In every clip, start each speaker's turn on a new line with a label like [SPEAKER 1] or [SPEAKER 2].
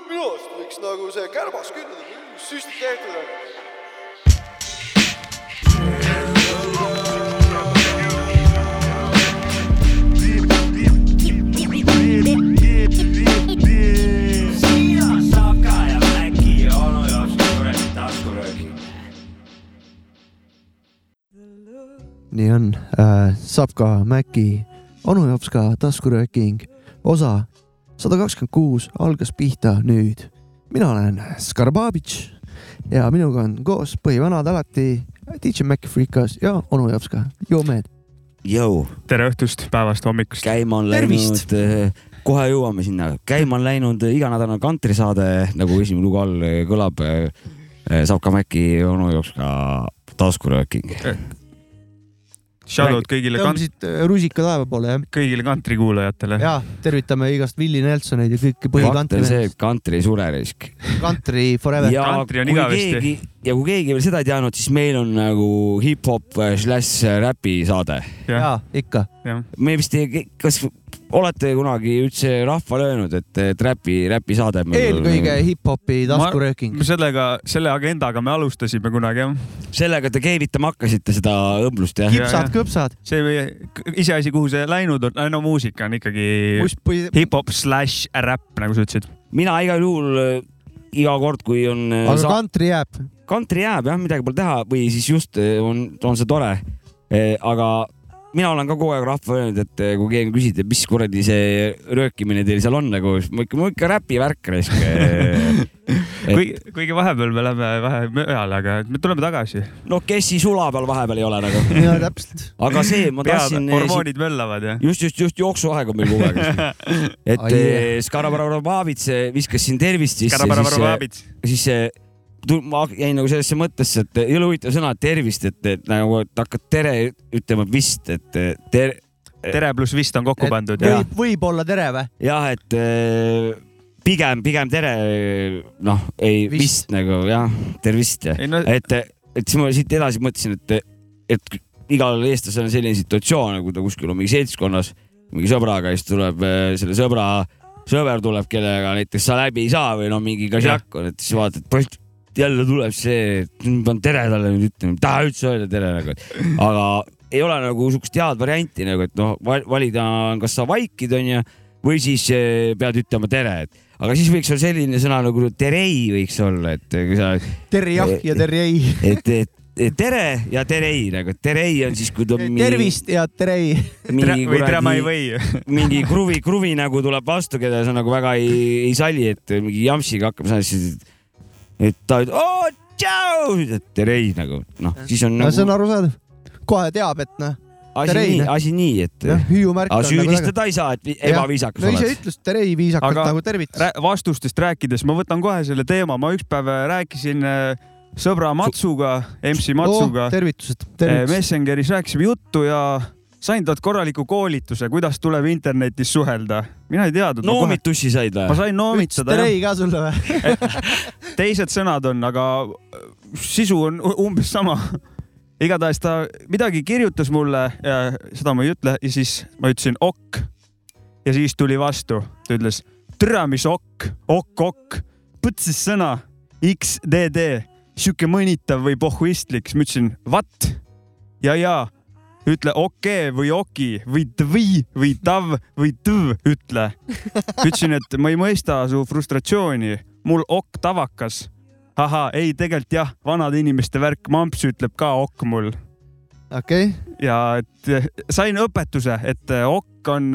[SPEAKER 1] võiks nagu see kärbas küll süstid tehtud on .
[SPEAKER 2] nii on äh, , Sapka , Mäki , onu jops ka taskurööking , osa sada kakskümmend kuus algas pihta nüüd . mina olen Skarbabitš ja minuga on koos põhivanad alati , DJ Mäki Freekas ja onu jops ka , joomehed .
[SPEAKER 3] jõu ,
[SPEAKER 4] tere õhtust , päevast , hommikust .
[SPEAKER 3] käima on
[SPEAKER 2] Tervist!
[SPEAKER 3] läinud , kohe jõuame sinna , käima on läinud eh, iganädalane kantrisaade , nagu esimene lugu all eh, kõlab . saab ka Maci onu jaoks ka taskurööking .
[SPEAKER 4] Shout out kõigile kant- ,
[SPEAKER 2] tõmbasid äh, rusika taeva poole jah ?
[SPEAKER 4] kõigile kantrikuulajatele .
[SPEAKER 2] ja tervitame igast Willie Nelsoneid ja kõiki
[SPEAKER 3] fakt on see ,
[SPEAKER 2] põhikantri ,
[SPEAKER 3] et kantri ei sure risk .
[SPEAKER 2] kantri forever .
[SPEAKER 3] ja
[SPEAKER 4] Kantri on
[SPEAKER 3] kui
[SPEAKER 4] igavesti.
[SPEAKER 3] keegi ja kui keegi veel seda ei teadnud , siis meil on nagu hip-hop slaš räpi saade .
[SPEAKER 4] jah ,
[SPEAKER 2] jaa , ikka .
[SPEAKER 4] jah .
[SPEAKER 3] me vist ei , kas olete kunagi üldse rahvale öelnud , et , et räpi , räpi saade ?
[SPEAKER 2] eelkõige hip-hopi taskurööking .
[SPEAKER 4] sellega , selle agendaga me alustasime kunagi jah .
[SPEAKER 3] sellega te keevitama hakkasite seda õmblust jah ?
[SPEAKER 4] Jaa,
[SPEAKER 2] kipsad
[SPEAKER 4] jah. ,
[SPEAKER 2] kõpsad ,
[SPEAKER 4] see meie iseasi , kuhu see läinud on , no muusika on ikkagi
[SPEAKER 2] must põhi ,
[SPEAKER 4] hip-hop slaš räpp , nagu sa ütlesid .
[SPEAKER 3] mina igal juhul äh, iga kord , kui on äh,
[SPEAKER 2] aga
[SPEAKER 3] sa-
[SPEAKER 2] kantri jääb .
[SPEAKER 3] kantri jääb jah , midagi pole teha või siis just äh, on , on see tore . aga mina olen ka kogu aeg rahvale öelnud , et äh, kui keegi küsib , et mis kuradi see röökimine teil seal on nagu , siis ma ikka , ma ikka räpi värk raisk . äh,
[SPEAKER 4] kuigi , kuigi vahepeal me läheme vähe mööale , aga me tuleme tagasi .
[SPEAKER 3] no kes siis sula peal vahepeal ei ole nagu ,
[SPEAKER 2] jaa , täpselt .
[SPEAKER 3] aga see ma
[SPEAKER 4] pead ,
[SPEAKER 3] tahtsin . äh,
[SPEAKER 4] hormoonid möllavad ja .
[SPEAKER 3] just , just , just jooksuaeg on meil kogu aeg . et
[SPEAKER 2] Ai, jah.
[SPEAKER 3] eh, Skarabaravabits eh, viskas siin tervist sisse , siis eh, siis see , ma jäin nagu sellesse mõttesse , et jõle huvitav sõna tervist , et et nagu , et hakkad tere ütlema vist , et eh, ter- ,
[SPEAKER 4] tere pluss vist on kokku pandud ja
[SPEAKER 2] võib , võib-olla tere või ?
[SPEAKER 3] jah , et eh, pigem , pigem tere , noh , ei
[SPEAKER 2] Vist.
[SPEAKER 3] vist, vist nagu jah , tervist ja
[SPEAKER 4] ei no
[SPEAKER 3] et , et siis ma siit edasi mõtlesin , et , et igal eestlasel on selline situatsioon , kui ta kuskil on mingi seltskonnas , mingi sõbraga ja siis tuleb eh, selle sõbra , sõber tuleb , kellega näiteks sa läbi ei saa või no mingi kasjak on , et siis vaatad , poiss , jälle tuleb see , ma pean tere talle nüüd ütlema , ei taha üldse öelda tere nagu , aga ei ole nagu sihukest head varianti nagu , et noh , valida on , kas sa vaikid , onju , või siis eh, pead ütlema tere , et aga siis võiks olla selline sõna nagu terei võiks olla , et kui sa
[SPEAKER 2] Terri jah ja Terri ei .
[SPEAKER 3] et , et et tere ja terei nagu , terei on siis , kui tuleb mingi ,
[SPEAKER 2] tervist ja Terri ei .
[SPEAKER 4] tere
[SPEAKER 3] mingi
[SPEAKER 4] või tere ma ei
[SPEAKER 3] kuradi ,
[SPEAKER 4] või .
[SPEAKER 3] mingi kruvi , kruvi nagu tuleb vastu , keda sa nagu väga ei , ei sali , et mingi jampsiga hakkab saama , siis et ta ütleb oo tšau , terei nagu noh , siis on
[SPEAKER 2] no see on
[SPEAKER 3] nagu
[SPEAKER 2] arusaadav . kohe teab , et noh ,
[SPEAKER 3] asi
[SPEAKER 2] terei,
[SPEAKER 3] nii ,
[SPEAKER 2] noh.
[SPEAKER 3] asi nii , et
[SPEAKER 2] jah , hüüumärk
[SPEAKER 3] aga
[SPEAKER 2] on nagu taga .
[SPEAKER 3] süüdistada ei saa , et vi-
[SPEAKER 2] Jah.
[SPEAKER 3] ebaviisakas
[SPEAKER 2] no ise
[SPEAKER 3] oled .
[SPEAKER 2] ütles Terri ei viisakalt
[SPEAKER 4] Aga-
[SPEAKER 2] aga... nagu tervitas .
[SPEAKER 4] vastustest rääkides ma võtan kohe selle teema , ma ükspäev rääkisin äh, sõbra Matsuga , MC Matsuga
[SPEAKER 2] oh, . tervitused ,
[SPEAKER 4] Eh,
[SPEAKER 2] tervitused .
[SPEAKER 4] Messengeris rääkisime juttu ja sain talt korraliku koolituse , kuidas tuleb internetis suhelda . mina ei teadnud .
[SPEAKER 3] noomitussi said
[SPEAKER 4] ma
[SPEAKER 3] või ?
[SPEAKER 4] sain
[SPEAKER 2] ütles
[SPEAKER 4] noomitada ,
[SPEAKER 2] Terri ka sulle või ?
[SPEAKER 4] teised sõnad on , aga äh, sisu on u- umbes sama . igatahes ta midagi kirjutas mulle , seda ma ei ütle ja siis ma ütlesin okk . ja siis tuli vastu , ta ütles türa , mis okk , okk-okk , põtsis sõna XDD , sihuke mõnitav või pohhuistlik , siis ma ütlesin what ja , ja ütle okei okay või oki või tvi või tav või tv , ütle . ütlesin , et ma ei mõista su frustratsiooni , mul okk tavakas . ahah , ei tegelikult jah , vanade inimeste värk , mamps ütleb ka okk mul
[SPEAKER 2] okei ,
[SPEAKER 4] ja et eh, sain õpetuse , et eh, okk on ,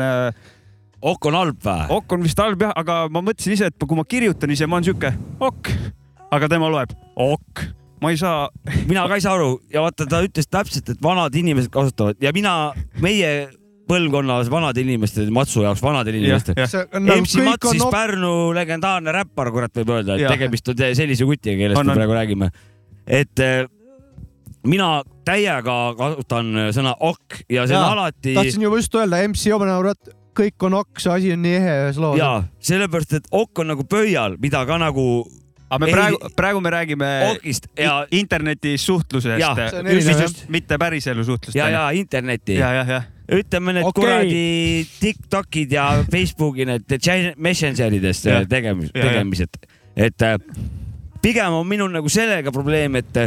[SPEAKER 3] ok on halb või ?
[SPEAKER 4] okk on vist halb jah , aga ma mõtlesin ise , et kui ma kirjutan ise , ma olen sihuke okk , aga tema loeb okk , ma ei saa ,
[SPEAKER 3] mina ka ei saa aru ja vaata , ta ütles täpselt , et vanad inimesed kasutavad ja mina , meie põlvkonnas vanade inimeste , Matsu jaoks vanadel inimestel .
[SPEAKER 4] jah ,
[SPEAKER 2] see on nagu
[SPEAKER 3] MC Mats
[SPEAKER 2] kõik
[SPEAKER 3] siis
[SPEAKER 2] on op- ,
[SPEAKER 3] Pärnu legendaarne räppar , kurat , võib öelda , et
[SPEAKER 4] Jah.
[SPEAKER 3] tegemist on te- sellise kutiga , kellest
[SPEAKER 4] On,
[SPEAKER 3] me
[SPEAKER 4] on.
[SPEAKER 3] praegu räägime . et eh, mina täiega kasutan äh, sõna ok ja see
[SPEAKER 2] Jaa,
[SPEAKER 3] on alati
[SPEAKER 2] tahtsin juba just öelda , MC Omanaurat , kõik on ok , see asi on nii ehe ühes loos .
[SPEAKER 3] ja sellepärast , et ok on nagu pöial , mida ka nagu
[SPEAKER 4] aga me
[SPEAKER 3] Ei-
[SPEAKER 4] praegu , praegu me räägime
[SPEAKER 3] okist ja ,
[SPEAKER 4] I- internetis suhtlusest
[SPEAKER 3] Jah,
[SPEAKER 2] see on
[SPEAKER 4] just,
[SPEAKER 2] erinev,
[SPEAKER 4] just, mitte päriselu suhtlust .
[SPEAKER 3] ja , ja interneti
[SPEAKER 4] ja , ja , ja ,
[SPEAKER 3] ütleme need
[SPEAKER 2] Okei.
[SPEAKER 3] okay. kuradi Tiktokid ja Facebooki need chat- messengerid ja
[SPEAKER 4] Jah.
[SPEAKER 3] äh, tegemis- ,
[SPEAKER 4] Ja, ja.
[SPEAKER 3] tegemised . et äh, pigem on minul nagu sellega probleem , et ,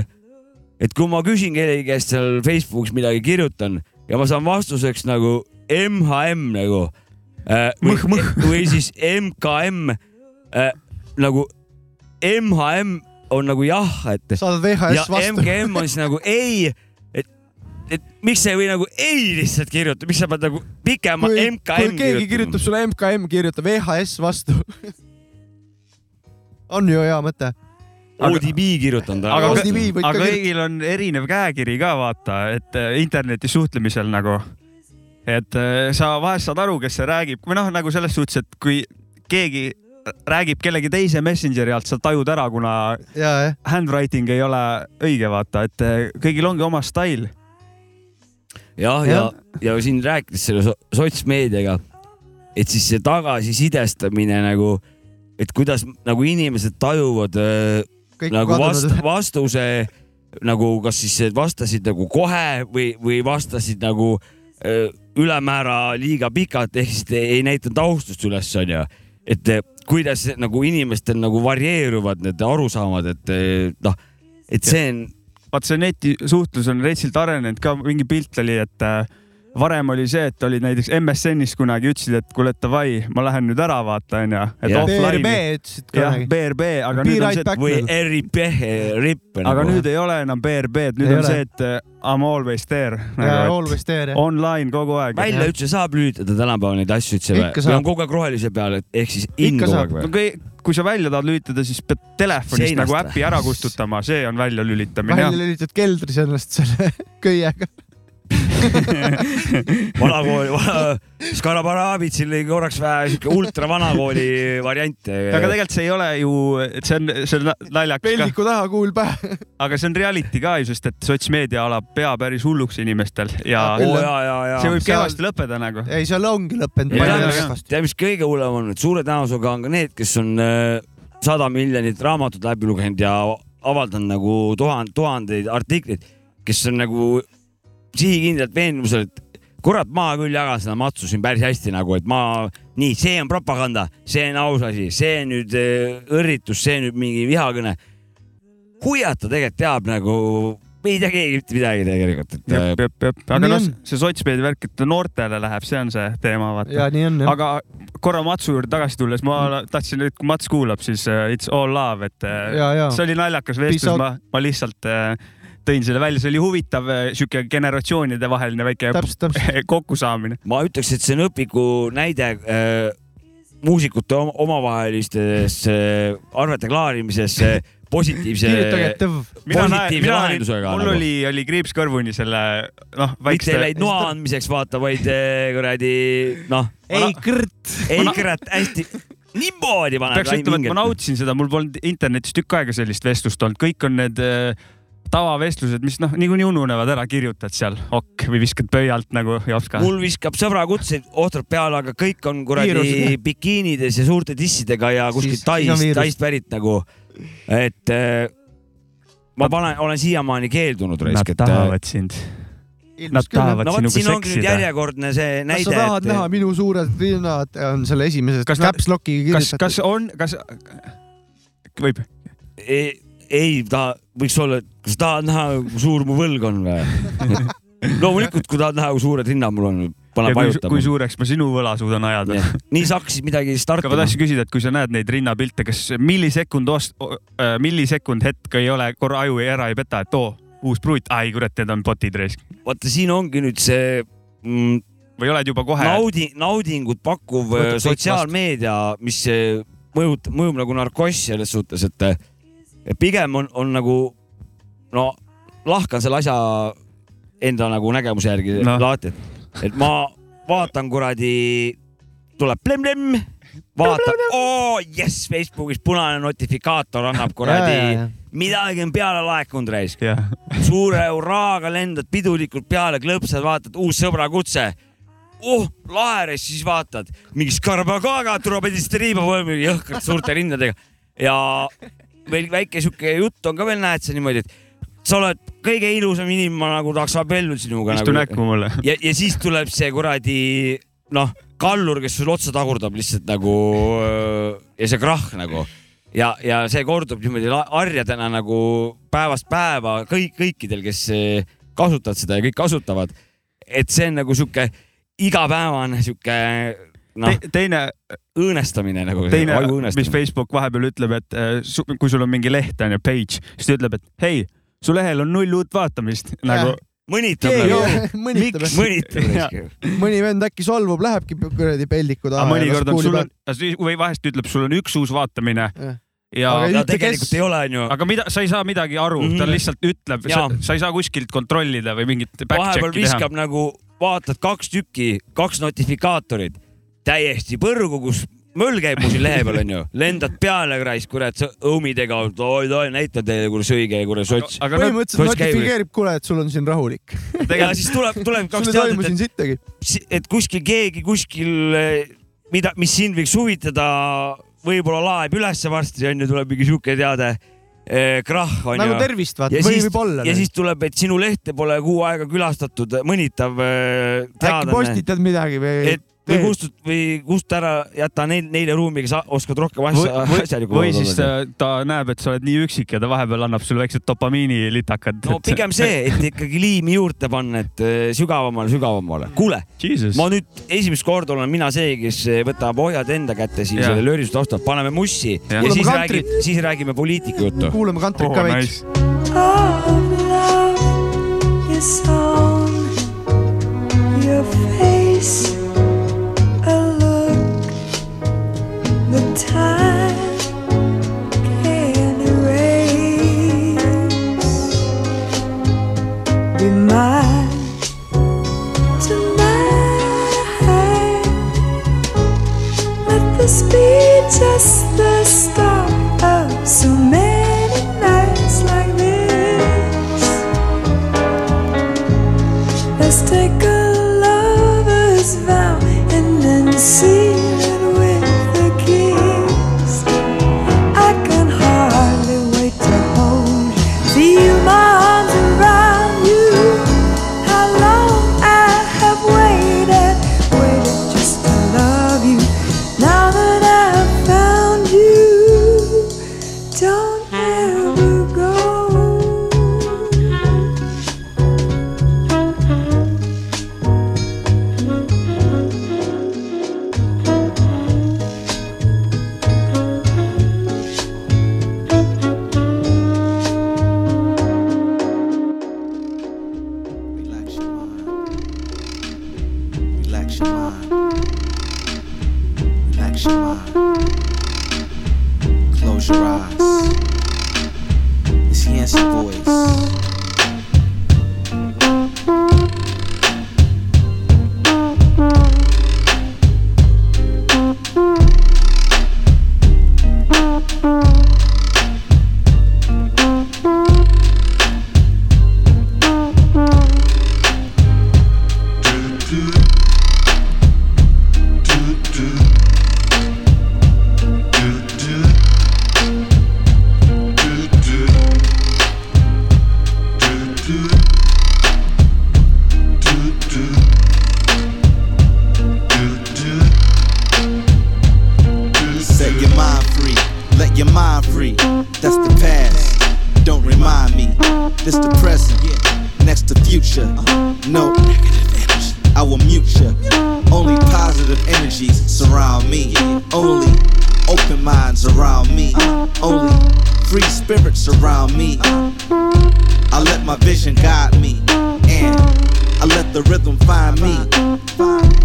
[SPEAKER 3] et kui ma küsin kellegi käest seal Facebookis midagi kirjutan ja ma saan vastuseks nagu MHM nagu äh, .
[SPEAKER 4] Mõh, mõh. .
[SPEAKER 3] või siis MKM äh, nagu MHM on nagu jah , et
[SPEAKER 2] saadad
[SPEAKER 3] ja
[SPEAKER 2] VHS vastu .
[SPEAKER 3] MGM on siis nagu ei , et , et miks sa ei või nagu ei lihtsalt kirjuta , miks sa pead nagu pikema
[SPEAKER 2] kui, kui
[SPEAKER 3] MKM
[SPEAKER 2] keegi kirjutab
[SPEAKER 3] kirjutama ?
[SPEAKER 2] sulle MKM , kirjuta VHS vastu . on ju hea mõte .
[SPEAKER 3] ODB kirjutanud .
[SPEAKER 4] aga,
[SPEAKER 2] ODB võid ka
[SPEAKER 4] aga
[SPEAKER 2] kirjutada.
[SPEAKER 4] kõigil on erinev käekiri ka vaata , et äh, internetis suhtlemisel nagu , et äh, sa vahest saad aru , kes see räägib või noh , nagu selles suhtes , et kui keegi räägib kellegi teise Messengeri alt , sa tajud ära , kuna
[SPEAKER 2] ja , jah .
[SPEAKER 4] handwriting ei ole õige , vaata , et äh, kõigil ongi oma stail .
[SPEAKER 3] jah , ja , ja siin rääkides selle so- sotsmeediaga , et siis see tagasisidestamine nagu , et kuidas nagu inimesed tajuvad öö,
[SPEAKER 2] kõik
[SPEAKER 3] nagu vast,
[SPEAKER 2] kadunud .
[SPEAKER 3] vastuse nagu , kas siis vastasid nagu kohe või , või vastasid nagu öö, ülemäära liiga pikalt , ehk siis ei ei näidanud austust üles , onju . et eh, kuidas nagu inimestel nagu varieeruvad need arusaamad , et eh, noh , et see on
[SPEAKER 4] vaat see netisuhtlus on retsilt arenenud ka , mingi pilt oli , et äh, varem oli see , et olid näiteks MSN-is kunagi ütlesid , et kuule davai , ma lähen nüüd ära , vaata onju , et
[SPEAKER 3] Jah.
[SPEAKER 2] BRB
[SPEAKER 4] offline'i .
[SPEAKER 2] ütlesid
[SPEAKER 4] jah ,
[SPEAKER 2] kunagi .
[SPEAKER 4] BRB , aga
[SPEAKER 2] Be
[SPEAKER 4] nüüd on
[SPEAKER 2] right
[SPEAKER 4] see , et
[SPEAKER 2] back.
[SPEAKER 3] või RIP , RIP .
[SPEAKER 4] aga nüüd ei ole enam BRB-d , nüüd
[SPEAKER 2] Ei
[SPEAKER 4] ei on
[SPEAKER 2] ole.
[SPEAKER 4] ole. see , et äh, I m always there nagu, .
[SPEAKER 2] Always there , jah .
[SPEAKER 4] Online kogu aeg .
[SPEAKER 3] välja üldse saab lülitada tänapäeval neid asju üldse või ?
[SPEAKER 2] Ikka
[SPEAKER 3] või on
[SPEAKER 2] saab.
[SPEAKER 3] kogu aeg rohelise peal , et ehk siis in
[SPEAKER 2] Ikka
[SPEAKER 3] kogu
[SPEAKER 2] saab.
[SPEAKER 3] aeg või ?
[SPEAKER 4] kui , kui sa välja tahad lülitada , siis pead telefonist
[SPEAKER 3] Seinast
[SPEAKER 4] nagu
[SPEAKER 3] või?
[SPEAKER 4] äpi ära kustutama , see on väljalülitamine
[SPEAKER 2] välja . lülitad keldris ennast selle köiega .
[SPEAKER 3] vanakooli , vana , Skarabarabitsil oli korraks vähe siuke ultravanakooli variant .
[SPEAKER 4] aga tegelikult see ei ole ju , see on , see on na- naljakas ka ,
[SPEAKER 2] peldiku taha kuul pähe .
[SPEAKER 4] aga see on reality ka ju , sest et sotsmeedia alab pea päris hulluks inimestel ja
[SPEAKER 2] Küll
[SPEAKER 3] oo
[SPEAKER 2] on.
[SPEAKER 3] ja , ja ,
[SPEAKER 4] see
[SPEAKER 3] ja .
[SPEAKER 4] võib
[SPEAKER 2] Seal-
[SPEAKER 4] kehvasti lõppeda nagu .
[SPEAKER 2] ei , seal ongi lõppenud
[SPEAKER 3] Jaa,
[SPEAKER 2] palju
[SPEAKER 3] jaa,
[SPEAKER 2] rahvast .
[SPEAKER 3] tead , mis kõige hullem on , et suure tõenäosusega on ka need , kes on äh, sada miljonit raamatut läbi lugenud ja avaldanud nagu tuhand- , tuhandeid artikleid , kes on nagu sihikindlalt veendumusel , et kurat , ma küll jagan seda matsu siin päris hästi nagu , et ma , nii , see on propaganda , see on aus asi , see nüüd äh, õrritus , see nüüd mingi vihakõne . huvitav tegelikult teab nagu , ei tea keegi mitte midagi tegelikult , et äh,
[SPEAKER 4] jep , jep , jep , aga
[SPEAKER 2] Nii
[SPEAKER 4] noh
[SPEAKER 2] on. ,
[SPEAKER 4] see sotsmeedia värk , et noortele läheb , see on see teema , vaata .
[SPEAKER 2] ja nii on jah . Mm.
[SPEAKER 4] aga korra Matsu juurde tagasi tulles , ma tahtsin , et kui Mats kuulab , siis äh, it's all love , et äh,
[SPEAKER 2] ja , ja
[SPEAKER 4] see oli naljakas
[SPEAKER 2] Peace
[SPEAKER 4] vestlus ,
[SPEAKER 2] out.
[SPEAKER 4] ma , ma lihtsalt äh, tõin selle välja , see oli huvitav äh, sihuke generatsioonide vaheline väike
[SPEAKER 2] täpselt , täpselt .
[SPEAKER 4] kokkusaamine .
[SPEAKER 3] ma ütleks , et see on õpiku näide äh, muusikute om- omavahelistes äh, arvete klaarimises äh, positiivse
[SPEAKER 2] kirjutage tõv .
[SPEAKER 3] positiivse lahendusega . nagu
[SPEAKER 4] mul oli , oli kriips kõrvuni selle noh ,
[SPEAKER 3] mitte ei läinud
[SPEAKER 4] väikse .
[SPEAKER 3] noa andmiseks vaata , vaid äh, kuradi noh ,
[SPEAKER 2] ei kõrt .
[SPEAKER 3] ei kurat hästi niimoodi paneb .
[SPEAKER 4] peaks ütlema , et ma nautisin seda , mul polnud internetis tükk aega sellist vestlust olnud , kõik on need äh, tavavestlused , mis noh , niikuinii ununevad ära , kirjutad seal okk või viskad pöialt nagu jopska .
[SPEAKER 3] mul viskab sõbra kutseid ohtralt peale , aga kõik on kuradi
[SPEAKER 2] Viirus.
[SPEAKER 3] bikiinides ja suurte dissidega ja kuskilt
[SPEAKER 2] Siis- siis on
[SPEAKER 3] Taist ,
[SPEAKER 2] viirus.
[SPEAKER 3] Taist pärit nagu . et äh, ma panen , olen siiamaani keeldunud raisk ,
[SPEAKER 4] Nad
[SPEAKER 3] et äh,
[SPEAKER 4] tahavad sind . Nad tahavad
[SPEAKER 3] no vot ,
[SPEAKER 4] sinuga
[SPEAKER 3] siin ongi nüüd
[SPEAKER 4] seksida .
[SPEAKER 3] järjekordne see
[SPEAKER 2] kas sa
[SPEAKER 3] näide ,
[SPEAKER 2] tahad näha ,
[SPEAKER 3] et
[SPEAKER 2] minu suured rinnad on selle esimeses
[SPEAKER 4] Kas nad-
[SPEAKER 2] caps lock'iga
[SPEAKER 4] kas ,
[SPEAKER 2] kirjutatud .
[SPEAKER 4] kas on , kas võib ,
[SPEAKER 3] ei, E, ei taha , võiks olla , et kas sa tahad näha , kui suur mu võlg on või ? loomulikult , kui tahad näha , kui suured hinnad mul on , pane
[SPEAKER 4] ja kui, kui
[SPEAKER 3] vajutama .
[SPEAKER 4] suureks ma sinu võla suudan ajada .
[SPEAKER 3] nii sa hakkasid midagi
[SPEAKER 4] aga ma
[SPEAKER 3] startima .
[SPEAKER 4] tahtsin küsida , et kui sa näed neid rinnapilte , kas millisekund , millisekund hetk ei ole , korra aju ei ära ei peta , et oo , uus pruut , ai kurat , need on botid raisk .
[SPEAKER 3] vaata , siin ongi nüüd see mm,
[SPEAKER 4] või oled juba kohe no. ,
[SPEAKER 3] naudi- , naudingut pakkuv
[SPEAKER 2] Võtab
[SPEAKER 3] äh,
[SPEAKER 2] kõik
[SPEAKER 3] sotsiaalmeedia , mis äh, mõjutab , mõjub nagu narkoss selles suhtes , et äh, et pigem on , on nagu no lahkan selle asja enda nagu nägemuse järgi no.
[SPEAKER 4] Noh.
[SPEAKER 3] lahti , et , et ma vaatan kuradi , tuleb plemm-plemm , vaatan , oo jess , Facebookis punane notifikaator annab kuradi , midagi on peale laekunud raisk .
[SPEAKER 4] jah ,
[SPEAKER 3] suure hurraaga lendad pidulikult peale , klõpsad , vaatad uus sõbrakutse . oh , laeres siis vaatad , mingi skarbagaga tuleb endist riiba või jõhkralt suurte rindadega ja veel väike sihuke jutt on ka veel , näed sa niimoodi , et sa oled kõige ilusam inimene , nagu tahaks abielluda sinuga .
[SPEAKER 4] istu näkku mulle .
[SPEAKER 3] ja , ja siis tuleb see kuradi noh , kallur , kes sul otsa tagurdab lihtsalt nagu öö, ja see krahh nagu . ja , ja see kordub niimoodi la- harjadena nagu päevast päeva kõik , kõikidel , kes eh, kasutavad seda ja kõik kasutavad . et see on nagu sihuke igapäevane sihuke noh ,
[SPEAKER 4] Te, teine ,
[SPEAKER 3] õõnestamine nagu .
[SPEAKER 4] teine , mis Facebook vahepeal ütleb , et äh, su, kui sul on mingi leht on ju , page , siis ta ütleb , et hei , su lehel on null uut vaatamist nagu .
[SPEAKER 3] mõnitab
[SPEAKER 4] Keegi
[SPEAKER 3] nagu ,
[SPEAKER 2] mõnitab ,
[SPEAKER 3] mõnitab nagu. raisk ju .
[SPEAKER 2] mõni vend äkki solvub , lähebki kuradi peldiku
[SPEAKER 4] aga
[SPEAKER 2] taha .
[SPEAKER 4] mõnikord on sul on , või vahest ütleb , sul on üks uus vaatamine
[SPEAKER 2] Jah.
[SPEAKER 4] ja
[SPEAKER 2] Aga
[SPEAKER 3] no
[SPEAKER 2] ütle, kes-
[SPEAKER 3] tegelikult ei ole , onju .
[SPEAKER 4] aga mida , sa ei saa midagi aru mm , -hmm. ta
[SPEAKER 3] Mhm.
[SPEAKER 4] lihtsalt ütleb ,
[SPEAKER 3] Jaa.
[SPEAKER 4] sa ei saa kuskilt kontrollida või mingit
[SPEAKER 3] vahepeal
[SPEAKER 4] back-check'i teha
[SPEAKER 3] viskab . nagu , vaatad kaks tükki , kaks notifikaatorit täiesti põrgu , kus möll käib mu siin lehe peal onju , lendad peale , raisk , kurat , sa õumidega , oi-oi , näitan teile , kuidas õige , kuidas sots .
[SPEAKER 4] aga nad
[SPEAKER 2] põhimõtteliselt
[SPEAKER 3] Sots käib-
[SPEAKER 2] notifikeerib , kuule , et sul on siin rahulik .
[SPEAKER 3] ja
[SPEAKER 4] tegelikult
[SPEAKER 3] siis tuleb , tuleb
[SPEAKER 2] sul
[SPEAKER 3] kaks
[SPEAKER 2] ei toimu
[SPEAKER 3] teadet ,
[SPEAKER 2] siin sittagi .
[SPEAKER 3] et , et kuskil keegi kuskil , mida , mis sind võiks huvitada , võib-olla laeb ülesse varsti onju , tuleb mingi siuke teade , krahh
[SPEAKER 2] nagu
[SPEAKER 3] onju .
[SPEAKER 2] tervist , vaata
[SPEAKER 3] ja ,
[SPEAKER 2] või noh.
[SPEAKER 3] siis
[SPEAKER 2] võib-olla ,
[SPEAKER 3] ja . siis tuleb , et sinu lehte pole kuu aega külastatud , mõnitav eh,
[SPEAKER 2] äkki
[SPEAKER 3] teadlane .
[SPEAKER 2] postitad midagi või
[SPEAKER 3] et ? või kustut- või kusta ära , jäta neil , neile ruumi , kes a- oskavad rohkem asja , nagu asjalikku
[SPEAKER 4] või siis äh, ta näeb , et sa oled nii üksik ja ta vahepeal annab sulle väiksed dopamiinilitakad .
[SPEAKER 3] no pigem see , et ikkagi liimi juurde panna , et äh, sügavamale , sügavamale . kuule ,
[SPEAKER 4] Jesus .
[SPEAKER 3] ma nüüd esimest korda olen mina see , kes äh, võtab ohjad enda kätte siin
[SPEAKER 4] Jaa.
[SPEAKER 3] selle löörisuse taustal , paneme mussi ja, ja
[SPEAKER 2] Kuulame
[SPEAKER 3] siis
[SPEAKER 2] kantrit.
[SPEAKER 3] räägime , siis räägime poliitika juttu .
[SPEAKER 2] kuulame kantrit ka veits .
[SPEAKER 5] of love, your song, your face, a look, the time can erase. Be mine tonight. Let this be just the start of so many nights like this. Let's take a lover's vow and then seal it with a kiss. I can hardly wait to hold you, feel my arms around you. How long I have waited, waited just to love you. Now that I've found you, don't ever go.
[SPEAKER 6] Relax your mind. Relax your mind. Relax your mind. Close your eyes. It's Yancey voice. Set your mind free. Let your mind free. That's the past. Don't remind me. This the present. Next to future. No negative energy. I will mute you. Only positive energies surround me. Only open minds around me. Only free spirits around me. I let my vision guide me. And I let the rhythm find me.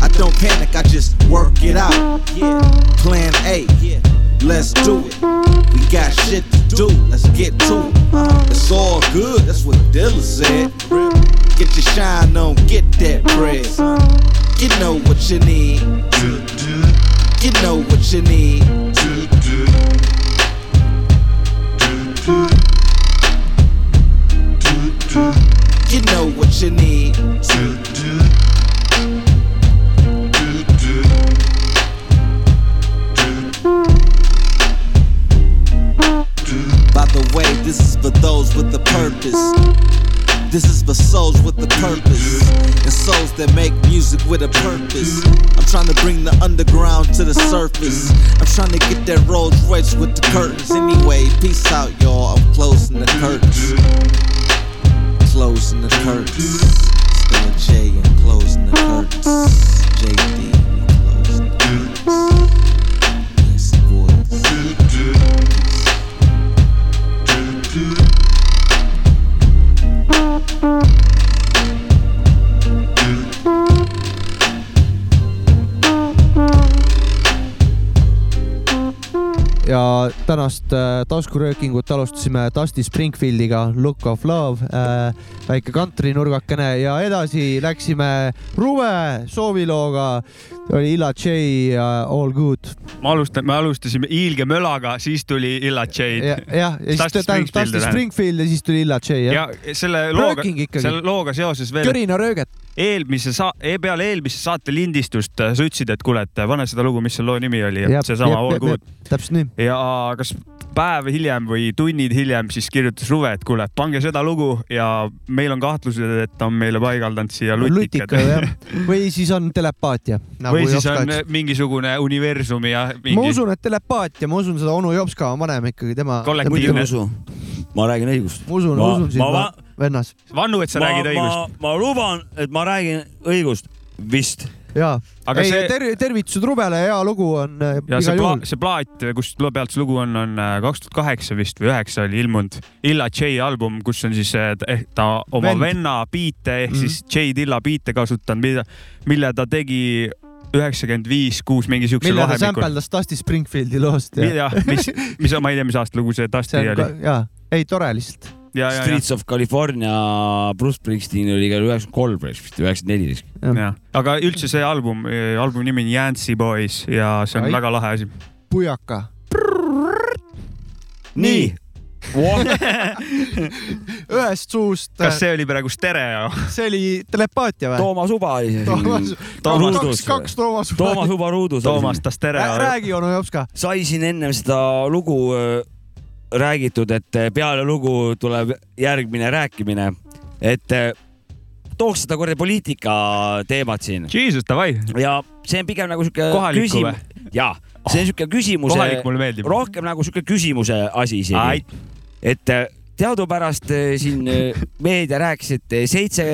[SPEAKER 6] I don't panic, I just work it out. Plan A, let's do it. We got shit to do, let's get to it. It's all good, that's what Dilla said. Get your shine on, get that bread. You know what you need. You know what you need. You know what you need. By the way, this is for those with a purpose. This is for souls with a purpose and souls that make music with a purpose. I'm trying to bring the underground to the surface. I'm trying to get that Rolls Royce with the curtains. Anyway, peace out, y'all. I'm closing the curtains. Closing the curtains. Still a J and closing the curtains. JD, we closing the curtains. Yes, boys.
[SPEAKER 2] ja tänast äh, taskuröökingut alustasime Dusty Springfieldiga Look of Love äh, , väike kantrinurgakene ja edasi läksime Ruve soovilooga , oli Illa J ja All Good .
[SPEAKER 4] ma alustan , me alustasime Ilge mölaga , siis tuli Illa
[SPEAKER 2] jah
[SPEAKER 4] Jade ,
[SPEAKER 2] ja siis
[SPEAKER 4] Dusty
[SPEAKER 2] tähendab
[SPEAKER 4] Springfield
[SPEAKER 2] Dusty
[SPEAKER 4] läheb.
[SPEAKER 2] Springfield ja siis tuli Illa J jah ja.
[SPEAKER 4] ja . selle looga ,
[SPEAKER 2] Rööking ikkagi.
[SPEAKER 4] selle looga seoses veel ,
[SPEAKER 2] körinarööget ,
[SPEAKER 4] eelmise sa- , peale eelmise saate lindistust äh, sa ütlesid , et kuule , et pane seda lugu , mis selle loo nimi oli ,
[SPEAKER 2] Jep,
[SPEAKER 4] et seesama
[SPEAKER 2] jep,
[SPEAKER 4] All
[SPEAKER 2] jep,
[SPEAKER 4] Good .
[SPEAKER 2] täpselt nii .
[SPEAKER 4] ja kas päev hiljem või tunnid hiljem siis kirjutas Ruve , et kuule , pange seda lugu ja meil on kahtlused , et ta on meile paigaldanud siia lutikad .
[SPEAKER 2] lutika jah , või siis on telepaatia nagu
[SPEAKER 4] või siis
[SPEAKER 2] Jopska
[SPEAKER 4] on
[SPEAKER 2] ütles.
[SPEAKER 4] mingisugune universumi ja
[SPEAKER 2] ma
[SPEAKER 4] mingi
[SPEAKER 2] usun , et telepaatia , ma usun seda onu Jopska on vanem ikkagi , tema .
[SPEAKER 4] Kollektiivne.
[SPEAKER 3] ma ei usu . ma räägin õigust .
[SPEAKER 2] ma usun ,
[SPEAKER 3] Ma-
[SPEAKER 2] usun sind
[SPEAKER 3] ma
[SPEAKER 2] ma...
[SPEAKER 3] va- ,
[SPEAKER 2] vennas .
[SPEAKER 4] vannu , et sa
[SPEAKER 3] ma ,
[SPEAKER 4] räägid
[SPEAKER 3] ma
[SPEAKER 4] õigust .,
[SPEAKER 3] ma luban , et ma räägin õigust . vist .
[SPEAKER 2] jaa ,
[SPEAKER 4] Aga
[SPEAKER 2] ei see...
[SPEAKER 4] see-
[SPEAKER 2] ter, tervitused Rubele , hea lugu on äh,
[SPEAKER 4] ja see
[SPEAKER 2] igal
[SPEAKER 4] pla-
[SPEAKER 2] juhul .
[SPEAKER 4] see plaat , kust loo pealt see lugu on , on äh, kaks tuhat kaheksa vist või üheksa oli ilmunud Illa J album , kus on siis eh, ta- ehk ta oma
[SPEAKER 2] Vend.
[SPEAKER 4] Vend. venna biite ehk
[SPEAKER 2] Mhm.
[SPEAKER 4] mm -hmm. siis J Dilla biite kasutanud , mida , mille ta tegi üheksakümmend viis , kuus mingi siukse
[SPEAKER 2] mille ta
[SPEAKER 4] vahemikul .
[SPEAKER 2] sämpeldas Dusty Springfieldi loost ja
[SPEAKER 4] jah , mis , mis , ma ei tea , mis aasta lugu see Dusty
[SPEAKER 2] see on
[SPEAKER 4] oli
[SPEAKER 2] ka ., jaa , ei tore lihtsalt .
[SPEAKER 4] ja , ja , ja ,
[SPEAKER 3] Streets of California , Bruce Springsteen oli ka üheksakümmend kolm vist , üheksakümmend neli vist .
[SPEAKER 4] ja , aga üldse see album , albumi nimi on Yancy Boys ja see on
[SPEAKER 2] Ai.
[SPEAKER 4] Ai. väga lahe asi .
[SPEAKER 2] pujaka .
[SPEAKER 3] nii .
[SPEAKER 2] ühest suust ,
[SPEAKER 4] kas
[SPEAKER 2] see...
[SPEAKER 4] see oli praegu stereo ?
[SPEAKER 2] see oli telepaatia või ?
[SPEAKER 3] Toomas Uba oli see
[SPEAKER 2] äh, Toomas
[SPEAKER 3] siin .,
[SPEAKER 2] kaks ,
[SPEAKER 3] Ruudus.
[SPEAKER 2] kaks Toomas .
[SPEAKER 3] Toomas Uba Ruudus .
[SPEAKER 4] Toomas , ta stereo .
[SPEAKER 2] räägi , onu Jopska .
[SPEAKER 3] sai siin ennem seda lugu öö, räägitud , et äh, peale lugu tuleb järgmine rääkimine , et öö, tooks seda korda poliitika teemat siin
[SPEAKER 4] Jesus , davai ,
[SPEAKER 3] ja see on pigem nagu sihuke
[SPEAKER 4] Kohalikku
[SPEAKER 3] küsimus , ja see on sihuke küsimuse
[SPEAKER 4] kohalik , mulle meeldib .
[SPEAKER 3] rohkem nagu sihuke küsimuse asi isegi , et öö, teadupärast öö, siin öö, meedia rääkis , et äh, seitse ,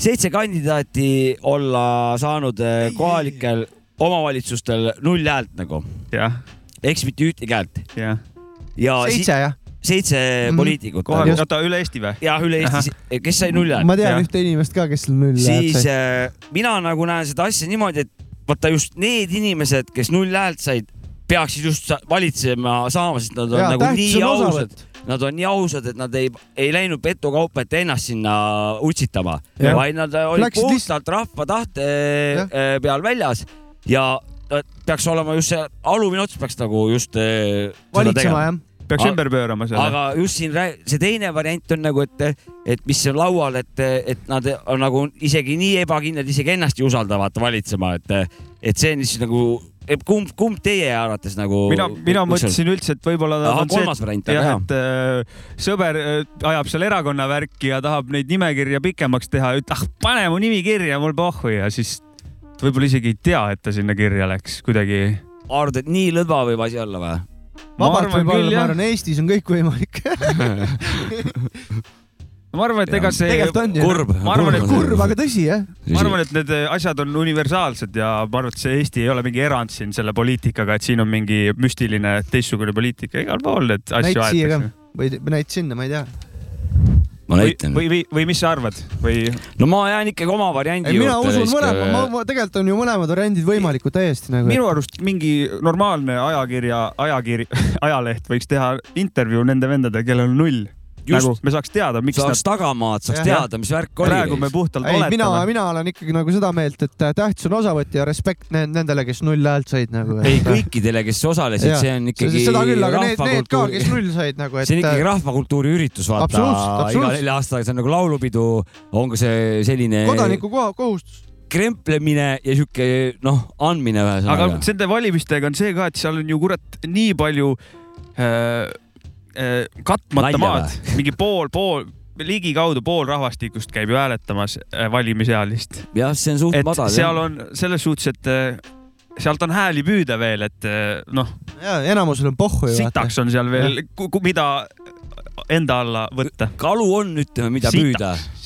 [SPEAKER 3] seitse kandidaati olla saanud öö, kohalikel omavalitsustel null häält nagu
[SPEAKER 4] jah ,
[SPEAKER 3] eks mitte ühtegi häält
[SPEAKER 4] jah .
[SPEAKER 3] ja seitse,
[SPEAKER 2] seitse jah ?
[SPEAKER 3] si seitse
[SPEAKER 2] Mhm.
[SPEAKER 3] mm. poliitikut
[SPEAKER 4] kohe ,
[SPEAKER 2] Just.
[SPEAKER 4] oota üle Eesti või ?
[SPEAKER 3] ja üle Eesti , kes sai null häält ,
[SPEAKER 2] ma tean
[SPEAKER 4] jah.
[SPEAKER 2] ühte inimest ka , kes null häält
[SPEAKER 3] siis
[SPEAKER 2] sai .
[SPEAKER 3] äh, mina nagu näen seda asja niimoodi , et vaata just need inimesed , kes null häält said , peaksid just sa- valitsema saama , sest nad on ja, nagu nii ausad ,. nad on nii ausad , et nad ei , ei läinud petukaupa , et ennast sinna utsitama ,
[SPEAKER 2] Jah.
[SPEAKER 3] vaid nad äh, olid
[SPEAKER 2] Läksid
[SPEAKER 3] puhtalt rahva tahte
[SPEAKER 2] Jah.
[SPEAKER 3] äh, peal väljas ja äh, peaks olema just see alumine ots peaks nagu just äh, seda tegema.
[SPEAKER 2] valitsema jah .
[SPEAKER 4] peaks
[SPEAKER 3] Aga-
[SPEAKER 4] ümber pöörama selle .
[SPEAKER 3] aga just siin rää- see teine variant on nagu , et , et mis on laual , et , et nad on nagu isegi nii ebakindlad , isegi ennast ei usalda vaata valitsema , et , et see on siis nagu , kumb , kumb teie arvates nagu ?
[SPEAKER 4] mina , mina . mõtlesin üldse , et võib-olla ta on see ,
[SPEAKER 3] kolmas variant ,
[SPEAKER 4] et jah
[SPEAKER 3] jah ,.
[SPEAKER 4] et äh, sõber äh, ajab seal erakonna värki ja tahab neid nimekirja pikemaks teha , ütleb , ah pane mu nimi kirja , mul pohhu ja siis võib-olla isegi ei tea , et ta sinna kirja läks kuidagi .
[SPEAKER 3] arvad , et nii lõdva võib asi olla või ?
[SPEAKER 2] vabalt
[SPEAKER 4] arvan
[SPEAKER 2] võib
[SPEAKER 4] küll,
[SPEAKER 2] olla , ma
[SPEAKER 4] jah.
[SPEAKER 2] arvan , Eestis on kõik võimalik .
[SPEAKER 4] ma arvan , et ega see ,
[SPEAKER 2] tegelikult on ju .
[SPEAKER 3] kurb .
[SPEAKER 4] ma arvan, et
[SPEAKER 2] kurb , aga tõsi jah .
[SPEAKER 4] ma arvan , et need äh, asjad on universaalsed ja ma arvan , et see Eesti ei ole mingi erand siin selle poliitikaga , et siin on mingi müstiline teistsugune poliitika igal pool , need asju
[SPEAKER 2] näit siia ka
[SPEAKER 4] aetakse .
[SPEAKER 2] või näit sinna , ma ei tea .
[SPEAKER 3] ma
[SPEAKER 4] või ,
[SPEAKER 3] näitan .
[SPEAKER 4] või , või, või mis sa arvad või ?
[SPEAKER 3] no ma jään ikkagi oma variandi
[SPEAKER 2] ei , mina usun mõlema , ma,
[SPEAKER 3] juurde . äh,
[SPEAKER 2] ma tegelikult on ju mõlemad variandid võimalikud täiesti nagu .
[SPEAKER 4] minu arust mingi normaalne ajakirja , ajakiri , ajaleht võiks teha intervjuu nende vendadega , kellel on null .
[SPEAKER 3] Just.
[SPEAKER 4] nagu me saaks teada , miks
[SPEAKER 3] saaks
[SPEAKER 4] nad tagamaad
[SPEAKER 3] saaks
[SPEAKER 2] Jah.
[SPEAKER 3] teada , mis värk oli .
[SPEAKER 4] praegu me puhtalt
[SPEAKER 2] ei , mina ,
[SPEAKER 4] oletame .
[SPEAKER 2] mina olen ikkagi nagu seda meelt , et tähtis on osavõtt ja respekt ne- nendele , kes null häält said nagu .
[SPEAKER 3] ei , kõikidele , kes osalesid
[SPEAKER 2] Jah. ,
[SPEAKER 3] see on ikkagi .
[SPEAKER 2] seda küll , aga need , need ka , kes null said nagu , et
[SPEAKER 3] see on ikkagi rahvakultuuri üritus , vaata
[SPEAKER 2] Absoluutselt, .
[SPEAKER 3] iga
[SPEAKER 2] absoluutselt.
[SPEAKER 3] nelja aastaga , see on nagu laulupidu , on ka see selline
[SPEAKER 2] kodaniku koha- kohustus .
[SPEAKER 3] kremplemine ja sihuke noh , andmine
[SPEAKER 4] aga
[SPEAKER 3] ühesõnaga .
[SPEAKER 4] nende valimistega on see ka , et seal on ju kurat nii palju äh, äh, katmata
[SPEAKER 3] Nalja
[SPEAKER 4] maad , mingi pool , pool , ligikaudu pool rahvastikust käib ju hääletamas äh, valimisealist .
[SPEAKER 3] jah , see on suht
[SPEAKER 4] et
[SPEAKER 3] madal .
[SPEAKER 4] seal on selles suhtes , et äh, sealt on hääli püüda veel , et äh, noh ,
[SPEAKER 2] ja enamusel on pohhu ju .
[SPEAKER 4] sitaks on seal veel , mida enda alla võtta .
[SPEAKER 3] kalu on , ütleme , mida
[SPEAKER 4] Sitaks.
[SPEAKER 3] püüda .
[SPEAKER 2] oo ,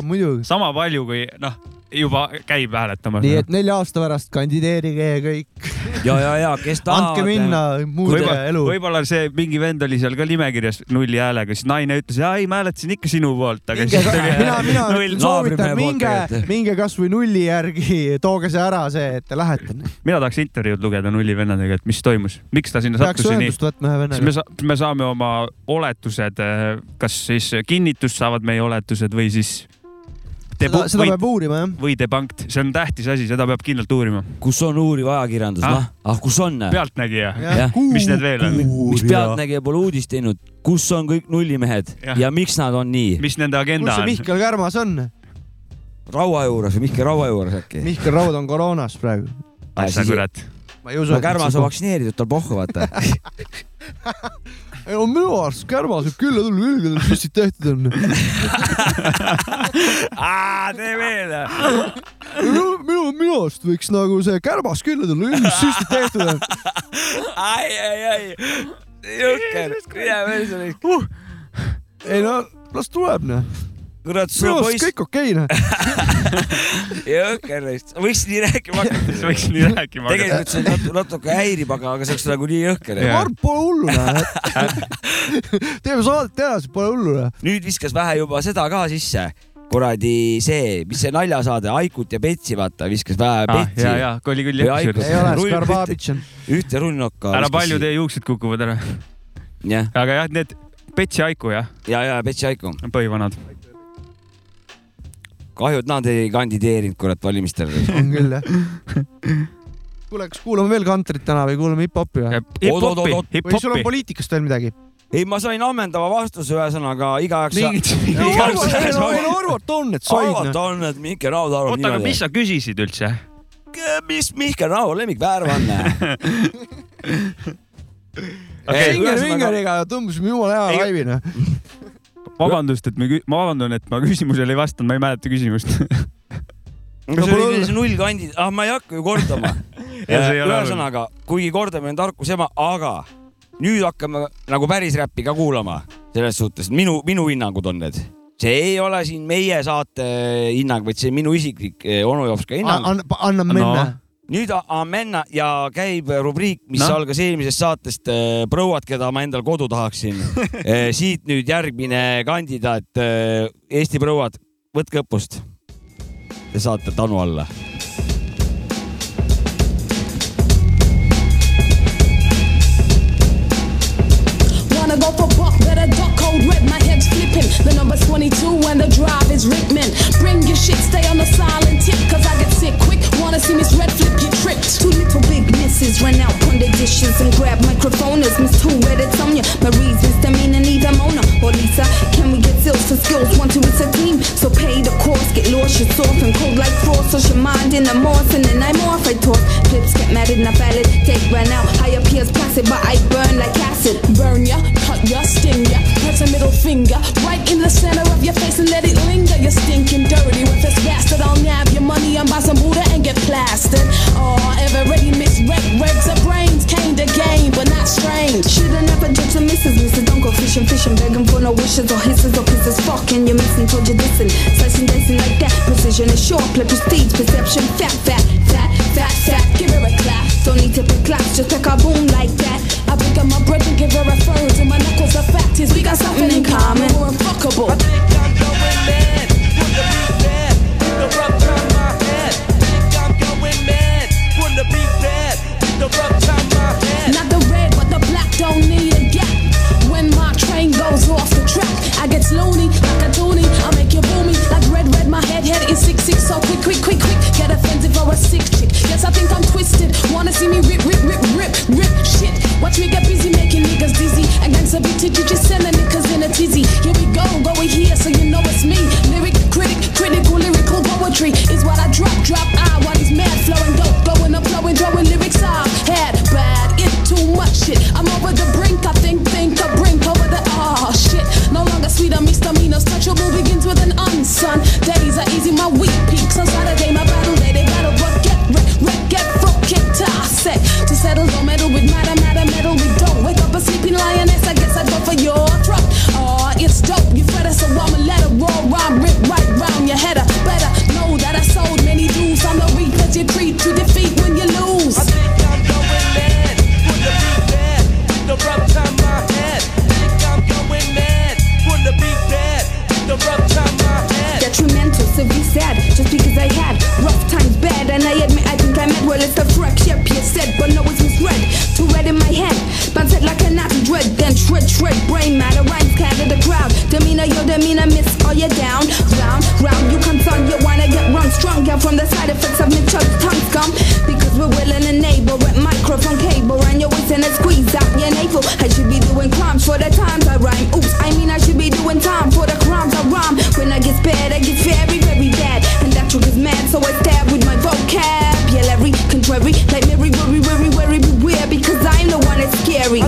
[SPEAKER 4] sitaks ,
[SPEAKER 2] muidugi .
[SPEAKER 4] sama palju kui noh , juba käib hääletamas .
[SPEAKER 2] nii et nelja aasta pärast kandideerige ja kõik ,
[SPEAKER 3] ja , ja , ja kes tahab .
[SPEAKER 2] andke minna muude
[SPEAKER 4] võib-olla
[SPEAKER 2] elu .
[SPEAKER 4] võib see mingi vend oli seal ka nimekirjas nulli häälega , siis naine ütles , ei ma hääletasin ikka sinu poolt , aga
[SPEAKER 2] minge ,
[SPEAKER 4] siis tuli
[SPEAKER 2] mina , Ah, mina
[SPEAKER 4] null .
[SPEAKER 2] soovitan
[SPEAKER 3] Naabrimehe , poolt
[SPEAKER 2] minge
[SPEAKER 3] tegelikult. ,
[SPEAKER 2] minge kasvõi nulli järgi , tooge see ära , see , et te lähete .
[SPEAKER 4] mina tahaks intervjuud lugeda nulli vendadega , et mis toimus , miks ta sinna
[SPEAKER 2] peaks
[SPEAKER 4] sattus ja nii .
[SPEAKER 2] ühendust võtma ühe
[SPEAKER 4] siis me
[SPEAKER 2] vennaga .
[SPEAKER 4] sa- , me saame oma oletused , kas siis kinnitust saavad meie oletused või siis
[SPEAKER 2] seda
[SPEAKER 4] debu- ,
[SPEAKER 2] seda
[SPEAKER 4] või,
[SPEAKER 2] peab uurima jah .
[SPEAKER 4] või debankt , see on tähtis asi , seda peab kindlalt uurima .
[SPEAKER 3] kus on uuriv ajakirjandus ,
[SPEAKER 4] Ah.
[SPEAKER 3] noh , ah kus on ,
[SPEAKER 4] pealtnägija ,
[SPEAKER 3] Jah.
[SPEAKER 4] mis need veel on ,
[SPEAKER 3] mis pealtnägija pole uudist teinud , kus on kõik nullimehed ja,
[SPEAKER 4] Jah.
[SPEAKER 3] ja miks nad on nii ?
[SPEAKER 4] mis nende
[SPEAKER 2] kus
[SPEAKER 4] agenda
[SPEAKER 2] see
[SPEAKER 4] on ?
[SPEAKER 2] Mihkel Kärmas on ?
[SPEAKER 3] Raua juures või Mihkel Raua juures äkki ?
[SPEAKER 2] Mihkel Raud on koroonas praegu .
[SPEAKER 3] Ah,
[SPEAKER 4] asja
[SPEAKER 3] siis-
[SPEAKER 4] kurat ,
[SPEAKER 2] ma ei usu
[SPEAKER 3] no . Kärmas on vaktsineeritud , tal pohhu vaata .
[SPEAKER 2] ei no minu arust Kärmas võib külla tulla , külgedel püssid tehtud on .
[SPEAKER 4] tee veel .
[SPEAKER 2] minu , minu , minu arust võiks nagu see Kärmas külla tulla , külgedel püssid tehtud on .
[SPEAKER 3] ai , ai , ai , jõhker , hea mees oli .
[SPEAKER 2] Uh. ei no las tuleb noh ,
[SPEAKER 3] kurat ,
[SPEAKER 2] minu
[SPEAKER 3] suur
[SPEAKER 2] arust
[SPEAKER 3] poiss ,
[SPEAKER 2] kõik okei noh .
[SPEAKER 3] jõhker neist , võiks nii rääkima hakata .
[SPEAKER 4] siis võiks nii rääkima hakata .
[SPEAKER 3] tegelikult see nat- natuke häirib , aga , aga see oleks nagu nii jõhker .
[SPEAKER 4] Jah.
[SPEAKER 2] Marp , pole hullu noh . teeme saadet edasi , pole hullu noh .
[SPEAKER 3] nüüd viskas vähe juba seda ka sisse . kuradi see , mis see naljasaade Aikut ja Betsi , vaata , viskas vähe ah, Betsi
[SPEAKER 4] ja , ja , oli küll
[SPEAKER 3] Või
[SPEAKER 4] jah ,
[SPEAKER 3] Aikus.
[SPEAKER 2] ei
[SPEAKER 4] kusjuures .
[SPEAKER 2] ole ,
[SPEAKER 3] Rull-
[SPEAKER 2] Skarbabitš on .
[SPEAKER 3] ühte rullnokka .
[SPEAKER 4] ära palju . teie juuksed kukuvad ära ,
[SPEAKER 3] jah ,
[SPEAKER 4] aga jah , need Betsi Aiku jah ,
[SPEAKER 3] ja , ja Betsi Aiku .
[SPEAKER 4] põhivanad .
[SPEAKER 3] kahju , et nad ei kandideerinud , kurat , valimistel .
[SPEAKER 2] on küll jah . kuule , kas kuulame veel kantrit täna või kuulame hip-hopi või ?
[SPEAKER 3] Oot, oot,
[SPEAKER 4] hip-hopi
[SPEAKER 3] oot, ,
[SPEAKER 2] või sul on
[SPEAKER 4] hip-hopi .
[SPEAKER 2] poliitikast veel midagi ?
[SPEAKER 3] ei , ma sain ammendava vastuse , ühesõnaga igaüks .
[SPEAKER 2] arvata on , et noh. said
[SPEAKER 3] arvata . on , et Mihkel Raud arvab
[SPEAKER 4] oota , aga mis
[SPEAKER 3] niimoodi .
[SPEAKER 4] sa küsisid üldse ?
[SPEAKER 3] mis Mihkel Raud lemmikväärv on ?
[SPEAKER 4] nagu-
[SPEAKER 2] Singer-Vingeriga tõmbasime jumala hea noh.
[SPEAKER 4] Ei-
[SPEAKER 2] laivina .
[SPEAKER 4] vabandust , et me , ma vabandan , et ma küsimusele ei vastanud , ma ei mäleta küsimust .
[SPEAKER 3] no see
[SPEAKER 2] pole
[SPEAKER 3] oli
[SPEAKER 2] hullu.
[SPEAKER 3] see null kandi , ah ma ei hakka ju kordama Äh,
[SPEAKER 4] Ja see ei ole
[SPEAKER 3] ühesõnaga , kuigi kordamine on tarkuse ema , aga nüüd hakkame nagu päris räppi ka kuulama , selles suhtes minu , minu hinnangud on need . see ei ole siin meie saate hinnang , vaid see on minu isiklik eh, onu Jopska hinnang .
[SPEAKER 2] anna minna .
[SPEAKER 3] nüüd a- Amenna ja käib rubriik , mis
[SPEAKER 4] Noh.
[SPEAKER 3] no. algas eelmisest saatest eh, Prouad , keda ma endal kodu tahaksin . siit nüüd järgmine kandidaat , Eesti prouad , võtke õppust . Te saate Tanu alla .
[SPEAKER 7] Wanna go for bump, better duck cold red, my head's flipping. The number's 22 and the drive is Rickman. Bring your shit, stay on the silent tip, cause I get sick quick. Wanna see Miss Red flip your trip. Two little big misses run out, on the dishes and grab microphones. Miss Two Red, it's on ya. Marie's misdemeanor, neither Mona or Lisa. Can we get skills for skills? One, two, it's a team. So pay the course, get lost, your source and cold like frost. Toss your mind in the morse and then I'm off. I toss. Clips get mad and not valid. Take run out. Higher peers pass it, but I burn like acid. Burn ya, cut ya, sting ya. Press a middle finger right in the center of your face and let it linger. You're stinking dirty with this bastard. I'll nab your money and buy some Buddha and get plastered. Oh, ever ready, Miss Red Regs her brains. Came to game, but not strange. Shoulda never judged a missus, missus. Don't go fishing, fishing, begging for no wishes or hisses or kisses. Fucking you missing, told you dissing. Slicing, dicing like that. Precision is short, clip prestige, perception, fat, fat, fat, fat, fat. Give her a clap. Don't need to pick claps, just pick a boom like that. I pick up my breath and give her a third. And my knuckles, the fact is, we got something in common. We're unfuckable. Not the red, but the black don't need a gap. When my train goes off the track, I get loony like a dooney. I make you boomy like red, red. My head, head is sick, sick. So quick, quick, quick, quick. Get offensive or a sick chick. Yes, I think I'm twisted. Wanna see me rip, rip, rip, rip, rip shit. Watch me get busy making niggas dizzy. And gangsta beat you just sending niggas in a tizzy. Here we go, go we here, so you know it's me. Lyric, critic, critical, lyrical poetry is what I drop, drop. I while these mad flowing dope, going up, flowing, throwing lyrics. I've had bad it too much shit. I'm over the brink, I think, think, a brink over the ah shit. No longer sweet, I'm misdemeanors, touch all you down, round, round. You come on, you wanna get run strong. Yeah, from the side effects of Mitchell's tongue scum. Because we're willing and able with microphone cable. And you're waiting to squeeze out your navel. I should be doing crimes for the times I rhyme. Oops, I mean, I should be doing time for the crimes I rhyme. When I get spared, I get very, very bad. And that truth is mad, so I stab with my vocabulary. Contrary, like Mary, worry, worry, worry, beware. Because I'm the one that's scary.